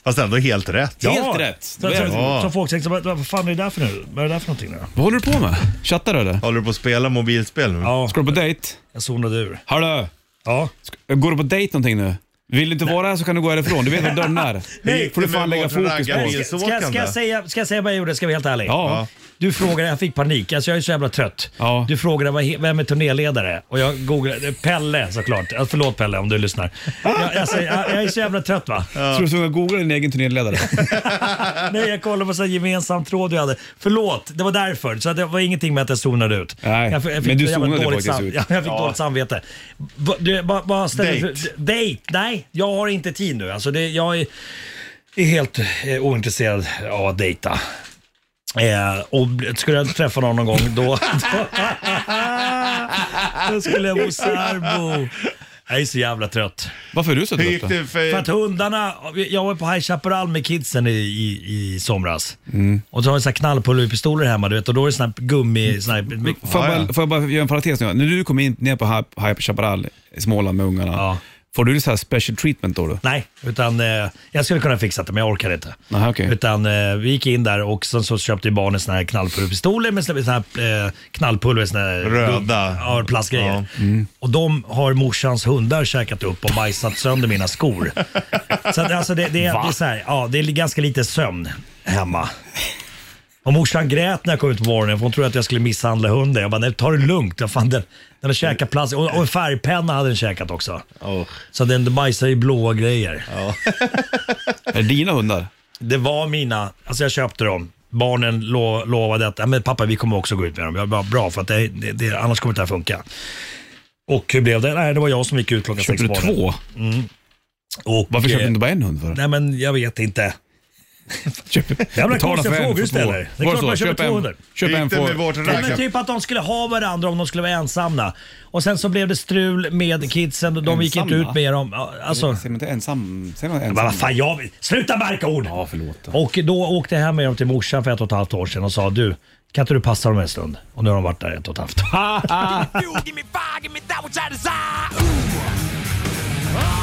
Speaker 3: Fast ändå helt rätt.
Speaker 2: Helt
Speaker 7: ja.
Speaker 2: rätt.
Speaker 7: Så,
Speaker 2: Det
Speaker 7: så,
Speaker 2: är-
Speaker 7: så, folk tänkte, vad vad fan är det där för nu? Vad är det där för någonting nu?
Speaker 2: Vad håller du på med? Chattar du eller?
Speaker 3: Håller du på att spela mobilspel nu?
Speaker 7: Ja,
Speaker 2: Ska du på dejt?
Speaker 7: jag zonade ur.
Speaker 2: Hallå!
Speaker 7: Ja.
Speaker 2: Går du på dejt någonting nu? Vill du inte vara här så kan du gå härifrån. Du vet var dörren är.
Speaker 3: Nej.
Speaker 2: får du fan lägga
Speaker 3: Vårt
Speaker 2: fokus
Speaker 3: raggar-
Speaker 2: på.
Speaker 3: Ska-
Speaker 7: Ska,
Speaker 3: så
Speaker 7: ska,
Speaker 3: kan
Speaker 7: ska, jag
Speaker 3: det.
Speaker 7: säga, ska jag säga vad jag gjorde? Ska jag vara helt ärlig?
Speaker 2: Ja.
Speaker 7: Du frågade, jag fick panik. Alltså jag är så jävla trött.
Speaker 2: Ja.
Speaker 7: Du frågade vad he- vem är turnéledare och jag googlade Pelle såklart. Ja, Förlåt Pelle om du lyssnar. Jag, alltså, jag, jag är så jävla trött va?
Speaker 2: Tror du att jag googlar din egen turnéledare?
Speaker 7: Nej, jag kollade på så här gemensam tråd jag hade. Förlåt, det var därför. Så att det var ingenting med att jag zonade ut.
Speaker 2: Nej,
Speaker 7: jag,
Speaker 2: men du
Speaker 7: så jävla
Speaker 2: zonade
Speaker 7: dåligt
Speaker 2: faktiskt
Speaker 7: sam-
Speaker 2: ut.
Speaker 7: Ja, jag fick dåligt samvete. Va- Du, bara, bara ställ-
Speaker 3: Dejt.
Speaker 7: Dejt? Nej, jag har inte tid nu. Alltså det, jag är, är helt eh, ointresserad av att dejta. Eh, och bl- skulle jag träffa någon någon gång då, då, då skulle jag bo särbo. Jag är så jävla trött.
Speaker 2: Varför är du så
Speaker 3: Hur
Speaker 2: trött
Speaker 3: gick
Speaker 2: då?
Speaker 3: det för...
Speaker 7: För att hundarna, jag var på High Chaparral med kidsen i, i, i somras. Och så har vi så här knallpulverpistoler hemma du vet och då är det sån här gummi... Sån här,
Speaker 2: Får jag,
Speaker 3: Ja,
Speaker 2: bara, får jag bara göra en parentes nu? När du kom in ner på Hype- Hype Chaparral i Småland med ungarna,
Speaker 7: Ja.
Speaker 2: får du så här special treatment då? då?
Speaker 7: nej, utan eh, jag skulle kunna fixa det men jag orkar inte.
Speaker 2: Nej, okej.
Speaker 7: Utan eh, vi gick in där och sen så köpte ju barnen såna här knallpulverpistoler med såna såna här eh, knallpulver, såna här
Speaker 3: Röda.
Speaker 7: Ja, plastgrejer. Och de har morsans hundar käkat upp och bajsat sönder mina skor. så att, alltså, det, det, det är så här, ja, det är ganska lite sömn hemma. Och morsan grät när jag kom ut på morgonen för hon trodde att jag skulle misshandla hunden. Jag bara, nej ta det lugnt. Jag fan, den, den har käkat plast och, och en färgpenna hade den käkat också.
Speaker 3: Åh.
Speaker 7: Så den bajsar i blåa grejer.
Speaker 2: Är det dina hundar?
Speaker 7: Det var mina, alltså jag köpte dem. Barnen lo, lovade att, "Ja, men pappa vi kommer också gå ut med dem. Jag bara, bra för att det, det, det, annars kommer det här funka. Och hur blev det? Nej, det var jag som gick ut klockan
Speaker 2: Köpte du
Speaker 7: sex på morgonen.
Speaker 2: två?
Speaker 7: Och,
Speaker 2: Varför köpte du
Speaker 7: eh,
Speaker 2: inte bara en hund? För?
Speaker 7: Nej men jag vet inte.
Speaker 2: Köp,
Speaker 7: Jävla
Speaker 2: betala
Speaker 7: konstiga
Speaker 2: för en
Speaker 7: frågor
Speaker 2: för
Speaker 7: du ställer.
Speaker 2: två.
Speaker 7: Det är
Speaker 2: Var
Speaker 7: klart
Speaker 2: så?
Speaker 7: man köper
Speaker 2: Köp en-
Speaker 7: två hundar.
Speaker 2: Köp
Speaker 3: Hur
Speaker 2: en
Speaker 3: gick det med
Speaker 2: för...
Speaker 3: vårt
Speaker 7: Nej, men
Speaker 3: raggar?
Speaker 7: typ att de skulle ha varandra om de skulle vara ensamma. Och sen så blev det strul med kidsen och de gick inte
Speaker 2: Ensamma?
Speaker 7: ut med dem. Ja, Alltså,
Speaker 2: Säger man inte ensam? Säger man
Speaker 7: men
Speaker 2: ensam?
Speaker 7: vad fan jag vill. Sluta märka ord!
Speaker 2: Ja, förlåt. då.
Speaker 7: Och då åkte jag hem med dem till morsan för ett och ett halvt år sedan och sa du, kan inte du passa dem en stund? Och nu har de varit där ett och ett halvt år.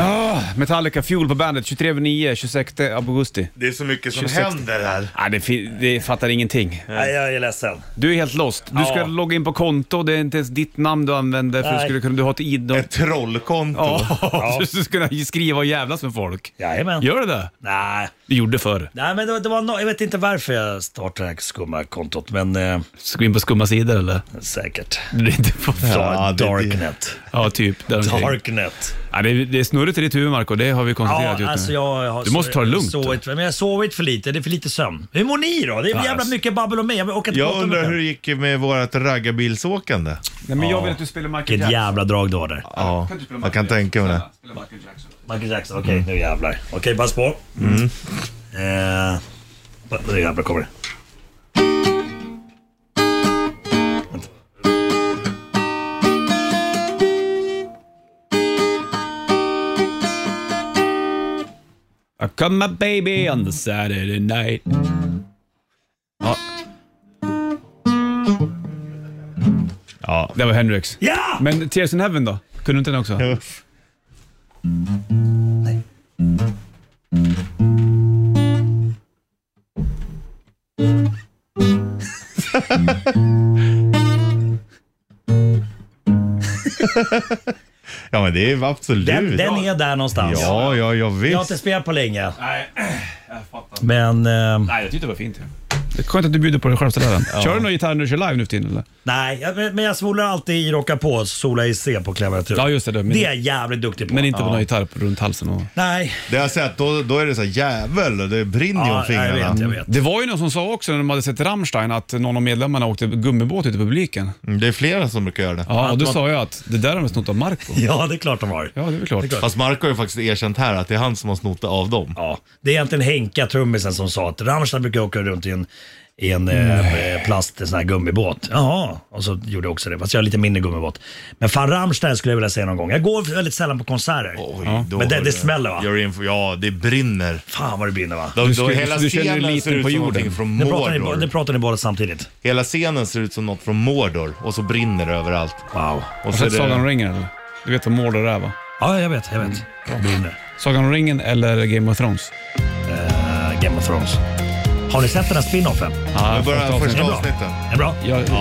Speaker 2: Ah, Metallica Fuel på bandet 23 över 9, 26 augusti.
Speaker 3: Det är så mycket som
Speaker 2: 26.
Speaker 3: händer här.
Speaker 2: Ah, det, fin- det fattar ingenting.
Speaker 7: Nej, jag är ledsen.
Speaker 2: Du är helt lost. Du ska
Speaker 7: Ja.
Speaker 2: logga in på konto, det är inte ens ditt namn du använder för du
Speaker 7: Nej.
Speaker 2: skulle kunna, du har ett id.
Speaker 3: Ett trollkonto.
Speaker 2: Ja, så du skulle kunna skriva och jävlas med folk.
Speaker 7: Jajamän.
Speaker 2: Gör du det?
Speaker 7: Nej.
Speaker 2: Du gjorde förr.
Speaker 7: Nej, men det, det var no- jag vet inte varför jag startade det här skumma kontot, men eh,
Speaker 2: Ska in på skumma sidor eller?
Speaker 7: säkert.
Speaker 2: Du är inte på
Speaker 3: Ja, det-
Speaker 7: Darknet.
Speaker 2: Ja, typ. Där omkring.
Speaker 7: Darknet.
Speaker 2: ja, det, är, det är snurrigt i ditt huvud Marco, det har vi
Speaker 7: Ja,
Speaker 2: konstaterat just
Speaker 7: alltså
Speaker 2: nu.
Speaker 7: jag har
Speaker 2: Du måste ta det lugnt.
Speaker 7: Sovit, men jag har sovit för lite, det är för lite sömn. Hur mår ni då? Det är
Speaker 2: Ja,
Speaker 7: jävla
Speaker 2: alltså.
Speaker 7: mycket babbel om mig. Jag vill åka till
Speaker 3: Jag
Speaker 7: Gotland
Speaker 3: undrar
Speaker 7: med
Speaker 3: hur
Speaker 7: den.
Speaker 3: det gick med vårt raggarbilsåkande.
Speaker 2: Nej, men jag vill att du spelar Michael
Speaker 7: Vilket
Speaker 2: Jackson.
Speaker 7: jävla drag du har där.
Speaker 3: Ja,
Speaker 2: du spela
Speaker 3: jag kan typ tänka mig det.
Speaker 2: Spela Michael Jackson.
Speaker 7: Michael Jackson, okej nu jävlar. Okej, pass på. Eh, va- nu jävlar kommer det. Vänta.
Speaker 2: I cut my baby on the Saturday night.
Speaker 3: Ja.
Speaker 2: Det var Hendrix.
Speaker 7: Ja!
Speaker 2: Men Tears in Heaven då? Kunde du inte den också?
Speaker 3: Ja men det är absolut.
Speaker 7: Den, den är där någonstans.
Speaker 3: Ja, ja, ja
Speaker 7: Jag har inte
Speaker 3: visst.
Speaker 7: spelat på länge,
Speaker 2: Nej, jag fattar.
Speaker 7: men eh,
Speaker 2: Nej, jag tyckte det var fint. Det är skönt att du bjuder på dig själv sådär. Kör du någon gitarr när du kör live nu för tiden eller?
Speaker 7: nej. jag- Men men jag svolar alltid i rocka på, solar i C på klaviaturen.
Speaker 2: Ja, just det. Men,
Speaker 7: Det är jag jävligt duktig på.
Speaker 2: men inte på någon gitarr runt halsen. Och...
Speaker 7: Nej,
Speaker 3: Det har jag sett, då, då är det så här jävel och det brinner ju om
Speaker 7: ja, jag
Speaker 3: fingrarna.
Speaker 7: vet, jag vet.
Speaker 2: Det var ju någon som sa också när de hade sett Rammstein att någon av medlemmarna åkte gummibåt ute i publiken.
Speaker 3: Mm, Det är flera som brukar göra det.
Speaker 2: Ja, och då sa jag att det där har de snott av Marco.
Speaker 7: Ja, det är klart de har.
Speaker 2: Ja, det är väl klart.
Speaker 3: Fast Marco har ju faktiskt erkänt här att det är han som har snott det av dem.
Speaker 7: Ja, det är egentligen Henka, trummisen, som sa att Rammstein brukar åka runt i en, i en eh, plast, en sån här gummibåt. Jaha, och så gjorde jag också det. Fast jag har lite mindre gummibåt. Men fan Rammstein skulle jag vilja säga någon gång. Jag går väldigt sällan på konserter.
Speaker 3: Oj, då
Speaker 7: Men det-
Speaker 3: har
Speaker 7: det smäller, va?
Speaker 3: Gör in, ja, det brinner.
Speaker 7: Fan vad det brinner va?
Speaker 3: Då,
Speaker 2: Du
Speaker 3: då,
Speaker 2: skulle-
Speaker 3: hela
Speaker 2: du känner dig
Speaker 3: scenen
Speaker 2: liten
Speaker 3: ser ut
Speaker 2: på
Speaker 3: som
Speaker 2: jorden.
Speaker 3: någonting från
Speaker 7: Nu pratar, ni,
Speaker 3: Mordor.
Speaker 7: nu pratar ni båda samtidigt.
Speaker 3: Hela scenen ser ut som något från Mordor och så brinner det överallt.
Speaker 7: Wow.
Speaker 3: Och
Speaker 2: Har
Speaker 3: så
Speaker 2: du sett
Speaker 3: är
Speaker 2: Sagan om
Speaker 3: det,
Speaker 2: ringen eller? Du vet vad Mordor är va?
Speaker 7: Ja, jag vet, jag vet. Brinner.
Speaker 2: Sagan om ringen eller Game of Thrones?
Speaker 7: Eh, Game of Thrones. Har ni sett den här spinoffen?
Speaker 2: Ja, första
Speaker 3: Nu börjar
Speaker 2: avsnittet.
Speaker 3: första
Speaker 7: bra.
Speaker 3: avsnitten.
Speaker 7: Är den bra?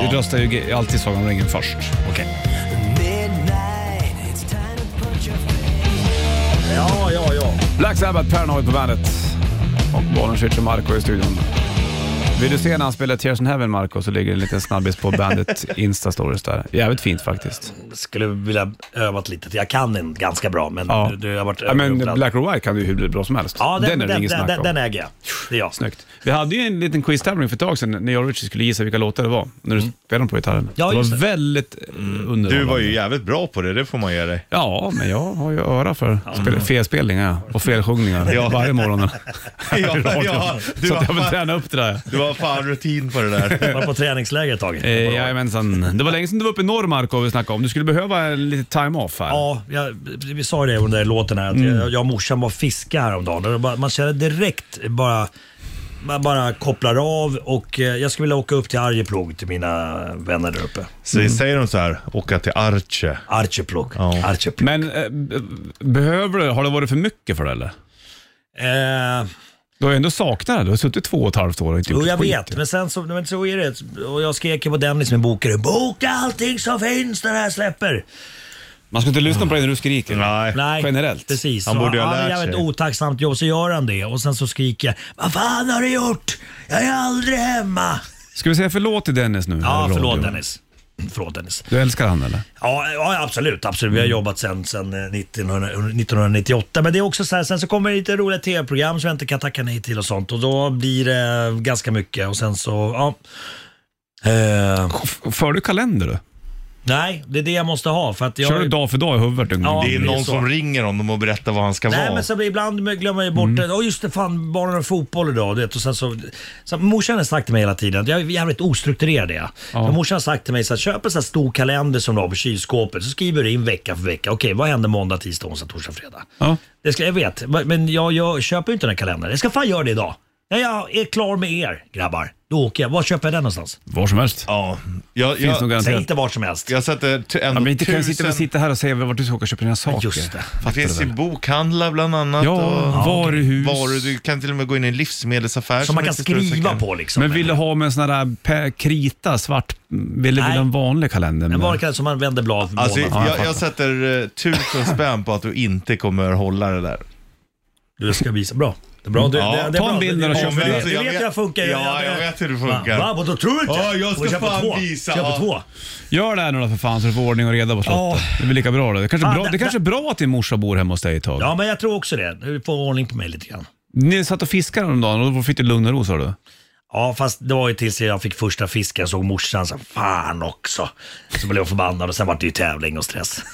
Speaker 2: Jag röstar ju ge- alltid Sagan om ringen först.
Speaker 7: Okej. Ja, ja, ja.
Speaker 2: Black Sabbath, Paranoid på bandet. Och Bonnerswitch och Marco i studion. Vill du se när han spelar Tears in Heaven, Marco, så ligger det en liten snabbis på bandet Insta-stories där. Jävligt fint faktiskt.
Speaker 7: Skulle vilja övat lite. Jag kan den ganska bra, men
Speaker 2: Ja.
Speaker 7: du, du har varit
Speaker 2: Ja, men
Speaker 7: överupplad.
Speaker 2: Black or White kan du ju hur bli bra som helst.
Speaker 7: Ja, den, den,
Speaker 2: är det
Speaker 7: den,
Speaker 2: ingen
Speaker 7: den,
Speaker 2: snack
Speaker 7: den,
Speaker 2: om.
Speaker 7: äger jag. Det är jag.
Speaker 2: Snyggt. Vi hade ju en liten quiz-tävling för ett tag sedan när jag och Richie skulle gissa vilka låtar det var, när du spelade dem på gitarren.
Speaker 7: Mm. Ja,
Speaker 2: det
Speaker 7: just
Speaker 2: var
Speaker 7: det. Mm.
Speaker 2: väldigt eh, underhållande.
Speaker 3: Du var ju jävligt bra på det, det får man ge dig.
Speaker 2: Ja, men jag har ju öra för spel, felspelningar och felsjungningar varje morgon.
Speaker 3: Ja,
Speaker 2: I radion.
Speaker 3: ja, du
Speaker 2: så att jag
Speaker 3: har-
Speaker 2: vill träna upp det där.
Speaker 3: Du har fan rutin på det där.
Speaker 7: Var på träningsläger ett tag.
Speaker 2: Eh, Jajamensan. Det var länge sedan du var uppe i norr Marco och vi snackade om. Du skulle behöva lite time-off här.
Speaker 7: Ja, jag, vi sa ju det under låten här. Att
Speaker 2: Mm.
Speaker 7: jag, jag och morsan var och fiskade häromdagen. Och det bara- Man känner direkt bara... Man bara kopplar av och eh, jag skulle vilja åka upp till Arjeplog till mina vänner där uppe.
Speaker 3: Så säger de så här, åka till Arche.
Speaker 7: Arjeplog.
Speaker 3: Ja.
Speaker 7: Arjeplog.
Speaker 2: Men eh, b- behöver du, har det varit för mycket för det eller?
Speaker 7: Eh,
Speaker 2: Du har ju ändå saknat det. Du har suttit två och ett halvt år och inte gjort
Speaker 7: jo, jag
Speaker 2: skit.
Speaker 7: vet, men sen så, men så är det. Och jag skrek ju på Dennis, min bokare, boka allting som finns när det här släpper.
Speaker 2: Man ska inte lyssna på dig när du skriker.
Speaker 3: Nej.
Speaker 7: Nej,
Speaker 2: Generellt.
Speaker 7: Precis.
Speaker 3: Han
Speaker 7: Så
Speaker 3: borde ju ha
Speaker 7: han
Speaker 3: lärt
Speaker 7: gör
Speaker 3: sig.
Speaker 7: ett otacksamt jobb, så gör han det. Och sen så skriker jag, vad fan har du gjort? Jag är aldrig hemma.
Speaker 2: Ska vi säga förlåt till Dennis nu? här
Speaker 7: Ja,
Speaker 2: i
Speaker 7: förlåt
Speaker 2: radion?
Speaker 7: Dennis. Förlåt Dennis.
Speaker 2: Du älskar han eller?
Speaker 7: Ja, ja absolut, absolut.
Speaker 2: Mm.
Speaker 7: Vi har jobbat sedan sen 1900 1998. Men det är också så här, sen så kommer det lite roliga tv-program som jag inte kan tacka nej till och sånt. Och då blir det ganska mycket och sen så, ja. Eh,
Speaker 2: F- För du kalender du?
Speaker 7: nej, det är det jag måste ha. För att jag,
Speaker 2: Kör du dag för dag i huvudet? en gång?
Speaker 7: Ja.
Speaker 3: Det är
Speaker 7: det är
Speaker 3: någon
Speaker 7: så.
Speaker 3: som ringer honom och berättar vad han ska
Speaker 7: Nej
Speaker 3: vara.
Speaker 7: men så blir ibland glömmer jag bort
Speaker 2: Mm.
Speaker 7: det. Åh just det, fan barnen har fotboll idag. Du vet, och sen så, så morsan har sagt till mig hela tiden att jag är jävligt ostrukturerad. är Jag. Så morsan har sagt till mig så här, köp en sån här stor kalender som du har på kylskåpet. Så skriver du in vecka för vecka. Okej, vad händer måndag, tisdag, onsdag, torsdag, fredag?
Speaker 2: Ja.
Speaker 7: Det ska, jag vet, men jag, jag köper ju inte den här kalendern. Jag ska fan göra det idag. När jag är klar med er grabbar, då åker jag. Var köper jag den någonstans?
Speaker 2: Var som helst.
Speaker 3: Ja, jag,
Speaker 2: Finns nog
Speaker 3: jag,
Speaker 7: Säg
Speaker 2: garanterat.
Speaker 7: inte vart som helst.
Speaker 3: jag sätter t-
Speaker 2: Ja,
Speaker 3: ändå
Speaker 2: men inte kan jag sitta,
Speaker 3: tusen...
Speaker 2: men sitta här och säga vart du ska åka och köpa dina saker.
Speaker 7: Just det.
Speaker 3: det
Speaker 2: Fattar
Speaker 3: finns
Speaker 2: du
Speaker 3: i
Speaker 2: väl?
Speaker 3: bokhandlar bland annat.
Speaker 2: Ja,
Speaker 3: och
Speaker 2: varuhus.
Speaker 3: varor. Du kan till och med gå in i en livsmedelsaffär.
Speaker 7: Som man kan
Speaker 3: inte står i
Speaker 7: skriva
Speaker 3: säcken.
Speaker 7: på liksom.
Speaker 2: Men vill du ha med en sån där pe- krita, svart, ville du
Speaker 7: Nej.
Speaker 2: ha en vanlig kalender?
Speaker 7: En
Speaker 2: med-
Speaker 7: vanlig kalender som man vänder blad för
Speaker 3: Alltså,
Speaker 7: månad.
Speaker 3: jag, jag sätter eh, tusen spänn på att du inte kommer hålla det där.
Speaker 7: Du ska visa. Bra. Det är bra. Du,
Speaker 3: Ja,
Speaker 7: det, det är
Speaker 2: ta en
Speaker 7: bra.
Speaker 2: bild när du
Speaker 7: Du-
Speaker 2: kör
Speaker 7: du-
Speaker 2: för
Speaker 7: du-
Speaker 2: det.
Speaker 7: Du vet hur jag funkar.
Speaker 3: Ja, jag vet hur det funkar.
Speaker 7: Va? Vadå, tror du inte?
Speaker 3: Ja, jag
Speaker 7: Får
Speaker 3: ska
Speaker 7: köpa
Speaker 3: fan
Speaker 7: två.
Speaker 3: visa.
Speaker 7: Köpa
Speaker 3: Ja.
Speaker 7: två.
Speaker 2: Gör det här nu då för fan så du får ordning och reda på slottet. Det blir lika bra då. Det kanske är
Speaker 7: Fan,
Speaker 2: bra,
Speaker 7: det-
Speaker 2: Ah, det kanske är bra att din morsa bor hemma hos dig ett tag.
Speaker 7: Ja, men jag tror också det. Du får ordning på mig lite grann.
Speaker 2: Ni satt och fiskade häromdagen och då fick du lugn och ro sa du?
Speaker 7: Ja, fast det var ju tills jag fick första fisken. Jag såg morsan så här, fan också. Så blev jag förbannad och sen var det ju tävling och stress.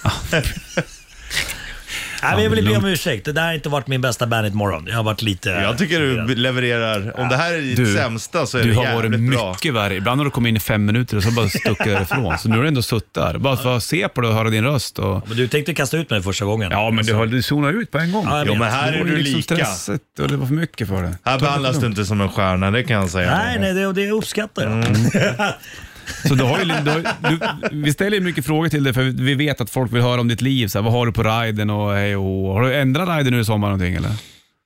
Speaker 7: Nej, men jag vill be om ursäkt. Det där har inte varit min bästa Bandit-morgon. Jag har varit lite...
Speaker 3: Jag tycker du levererar. Om det här är ditt
Speaker 2: Du-
Speaker 3: sämsta så är
Speaker 2: Du
Speaker 3: det
Speaker 2: har varit
Speaker 3: jävligt bra.
Speaker 2: mycket värre. Ibland har du kommit in i fem minuter och så bara stuckit därifrån. Så nu har du ändå suttit där. Bara för att se på dig och höra din röst. Och... Alltså.
Speaker 7: Men du tänkte kasta ut mig första gången.
Speaker 2: Ja, men du, har- du zonade ut på en gång.
Speaker 7: Ja, jag
Speaker 3: Jo,
Speaker 7: vet.
Speaker 3: men här
Speaker 2: Det
Speaker 3: är
Speaker 2: var ju
Speaker 3: du
Speaker 2: liksom
Speaker 3: lika.
Speaker 2: stresset och det var för mycket för dig.
Speaker 3: Här behandlas du inte som en stjärna, det kan jag säga.
Speaker 7: Nej, nej, det, det uppskattar jag.
Speaker 3: Mm.
Speaker 2: Så du har ju, du har, du, vi ställer ju mycket frågor till dig för vi vet att folk vill höra om ditt liv. Så här, vad har du på riden och hej och hå. Har du ändrat riden nu i sommar någonting eller?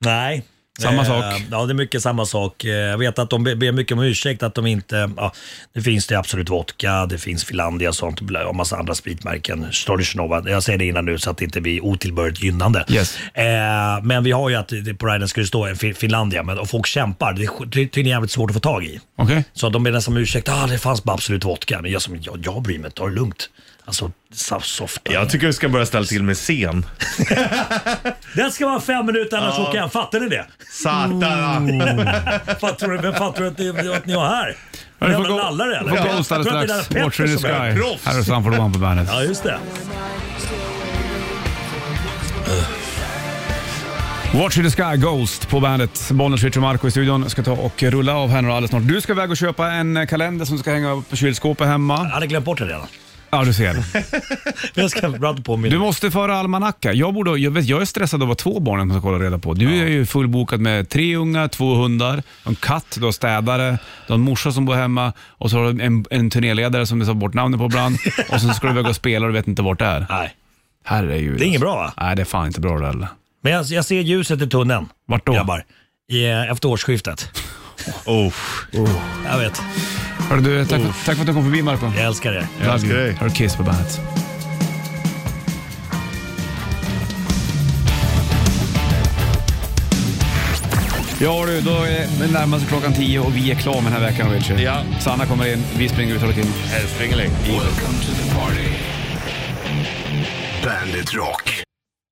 Speaker 7: Nej.
Speaker 2: Samma
Speaker 7: Eh,
Speaker 2: sak.
Speaker 7: Ja, det är mycket samma sak. Eh, Jag vet att de be- ber mycket om ursäkt att de inte... Ja, det finns det Absolut Vodka, det finns Finlandia och sånt bla- och massa andra spritmärken. Storysnova. Jag säger det innan nu så att det inte blir otillbörligt gynnande.
Speaker 2: Yes.
Speaker 7: Eh, men vi har ju att det- på riden ska det stå Fin- Finlandia men, och folk kämpar. Det är sk- det är tydligen jävligt svårt att få tag i.
Speaker 2: Okej?
Speaker 7: Så de ber nästan om ursäkt. Ah, det fanns bara Absolut Vodka. Men jag, som, jag, jag bryr mig inte, ta det lugnt. Alltså, so- soft.
Speaker 3: Jag tycker du ska börja ställa till med scen.
Speaker 7: Den ska vara fem minuter annars åker jag. Fattar ni det?
Speaker 3: Satan!
Speaker 7: Fan tror du, vem fan tror du att ni, att ni har här?
Speaker 2: Ja,
Speaker 7: Jävla
Speaker 2: gå-
Speaker 7: lallare eller?
Speaker 2: får ghosta
Speaker 7: Jag tror att
Speaker 2: alldeles
Speaker 7: det är
Speaker 2: strax.
Speaker 7: Lennart
Speaker 2: Watcher in the sky.
Speaker 7: Pettersson som är proffs.
Speaker 2: Här är Sanford One på bandet.
Speaker 7: Ja, just det.
Speaker 2: Watch in the sky, Ghost på bandet. Bollnäs, Richard och Marco i studion. Ska ta och rulla av här nu alldeles snart. Du ska iväg och köpa en kalender som ska hänga upp på kylskåpet
Speaker 7: Jag
Speaker 2: hemma.
Speaker 7: hade glömt bort det redan.
Speaker 2: Ja, du ser.
Speaker 7: Men Jag ska prata på min...
Speaker 2: Du måste föra almanacka. Jag, borde, jag, vet, jag är stressad av att två barnen som ska kolla reda på. Du är ju fullbokad med tre unga, två hundar, en katt, du har städare, du har en morsa som bor hemma och så har du en, en turnéledare som du tar bort namnet på ibland. och sen ska du iväg och spela och du vet inte vart det är.
Speaker 7: Nej.
Speaker 2: Herregud.
Speaker 7: Det är inget bra, va?
Speaker 2: Nej, det är fan inte bra det heller.
Speaker 7: Men jag, jag ser ljuset i tunneln.
Speaker 2: Vart då?
Speaker 7: Grabbar. I, eh, efter årsskiftet.
Speaker 3: Oh,
Speaker 7: Jag vet.
Speaker 2: Hörru du, tack, för, tack för att du kom förbi Marko.
Speaker 7: Jag älskar er.
Speaker 3: jag älskar dig.
Speaker 2: Hör Kiss på bandet. Ja du, då är det närmast klockan tio och vi är klara med den här veckan Richard.
Speaker 3: Ja.
Speaker 2: Sanna kommer in, vi springer ut och håller till.
Speaker 3: Hälsningeling.
Speaker 1: Welcome to the party. Bandit Rock.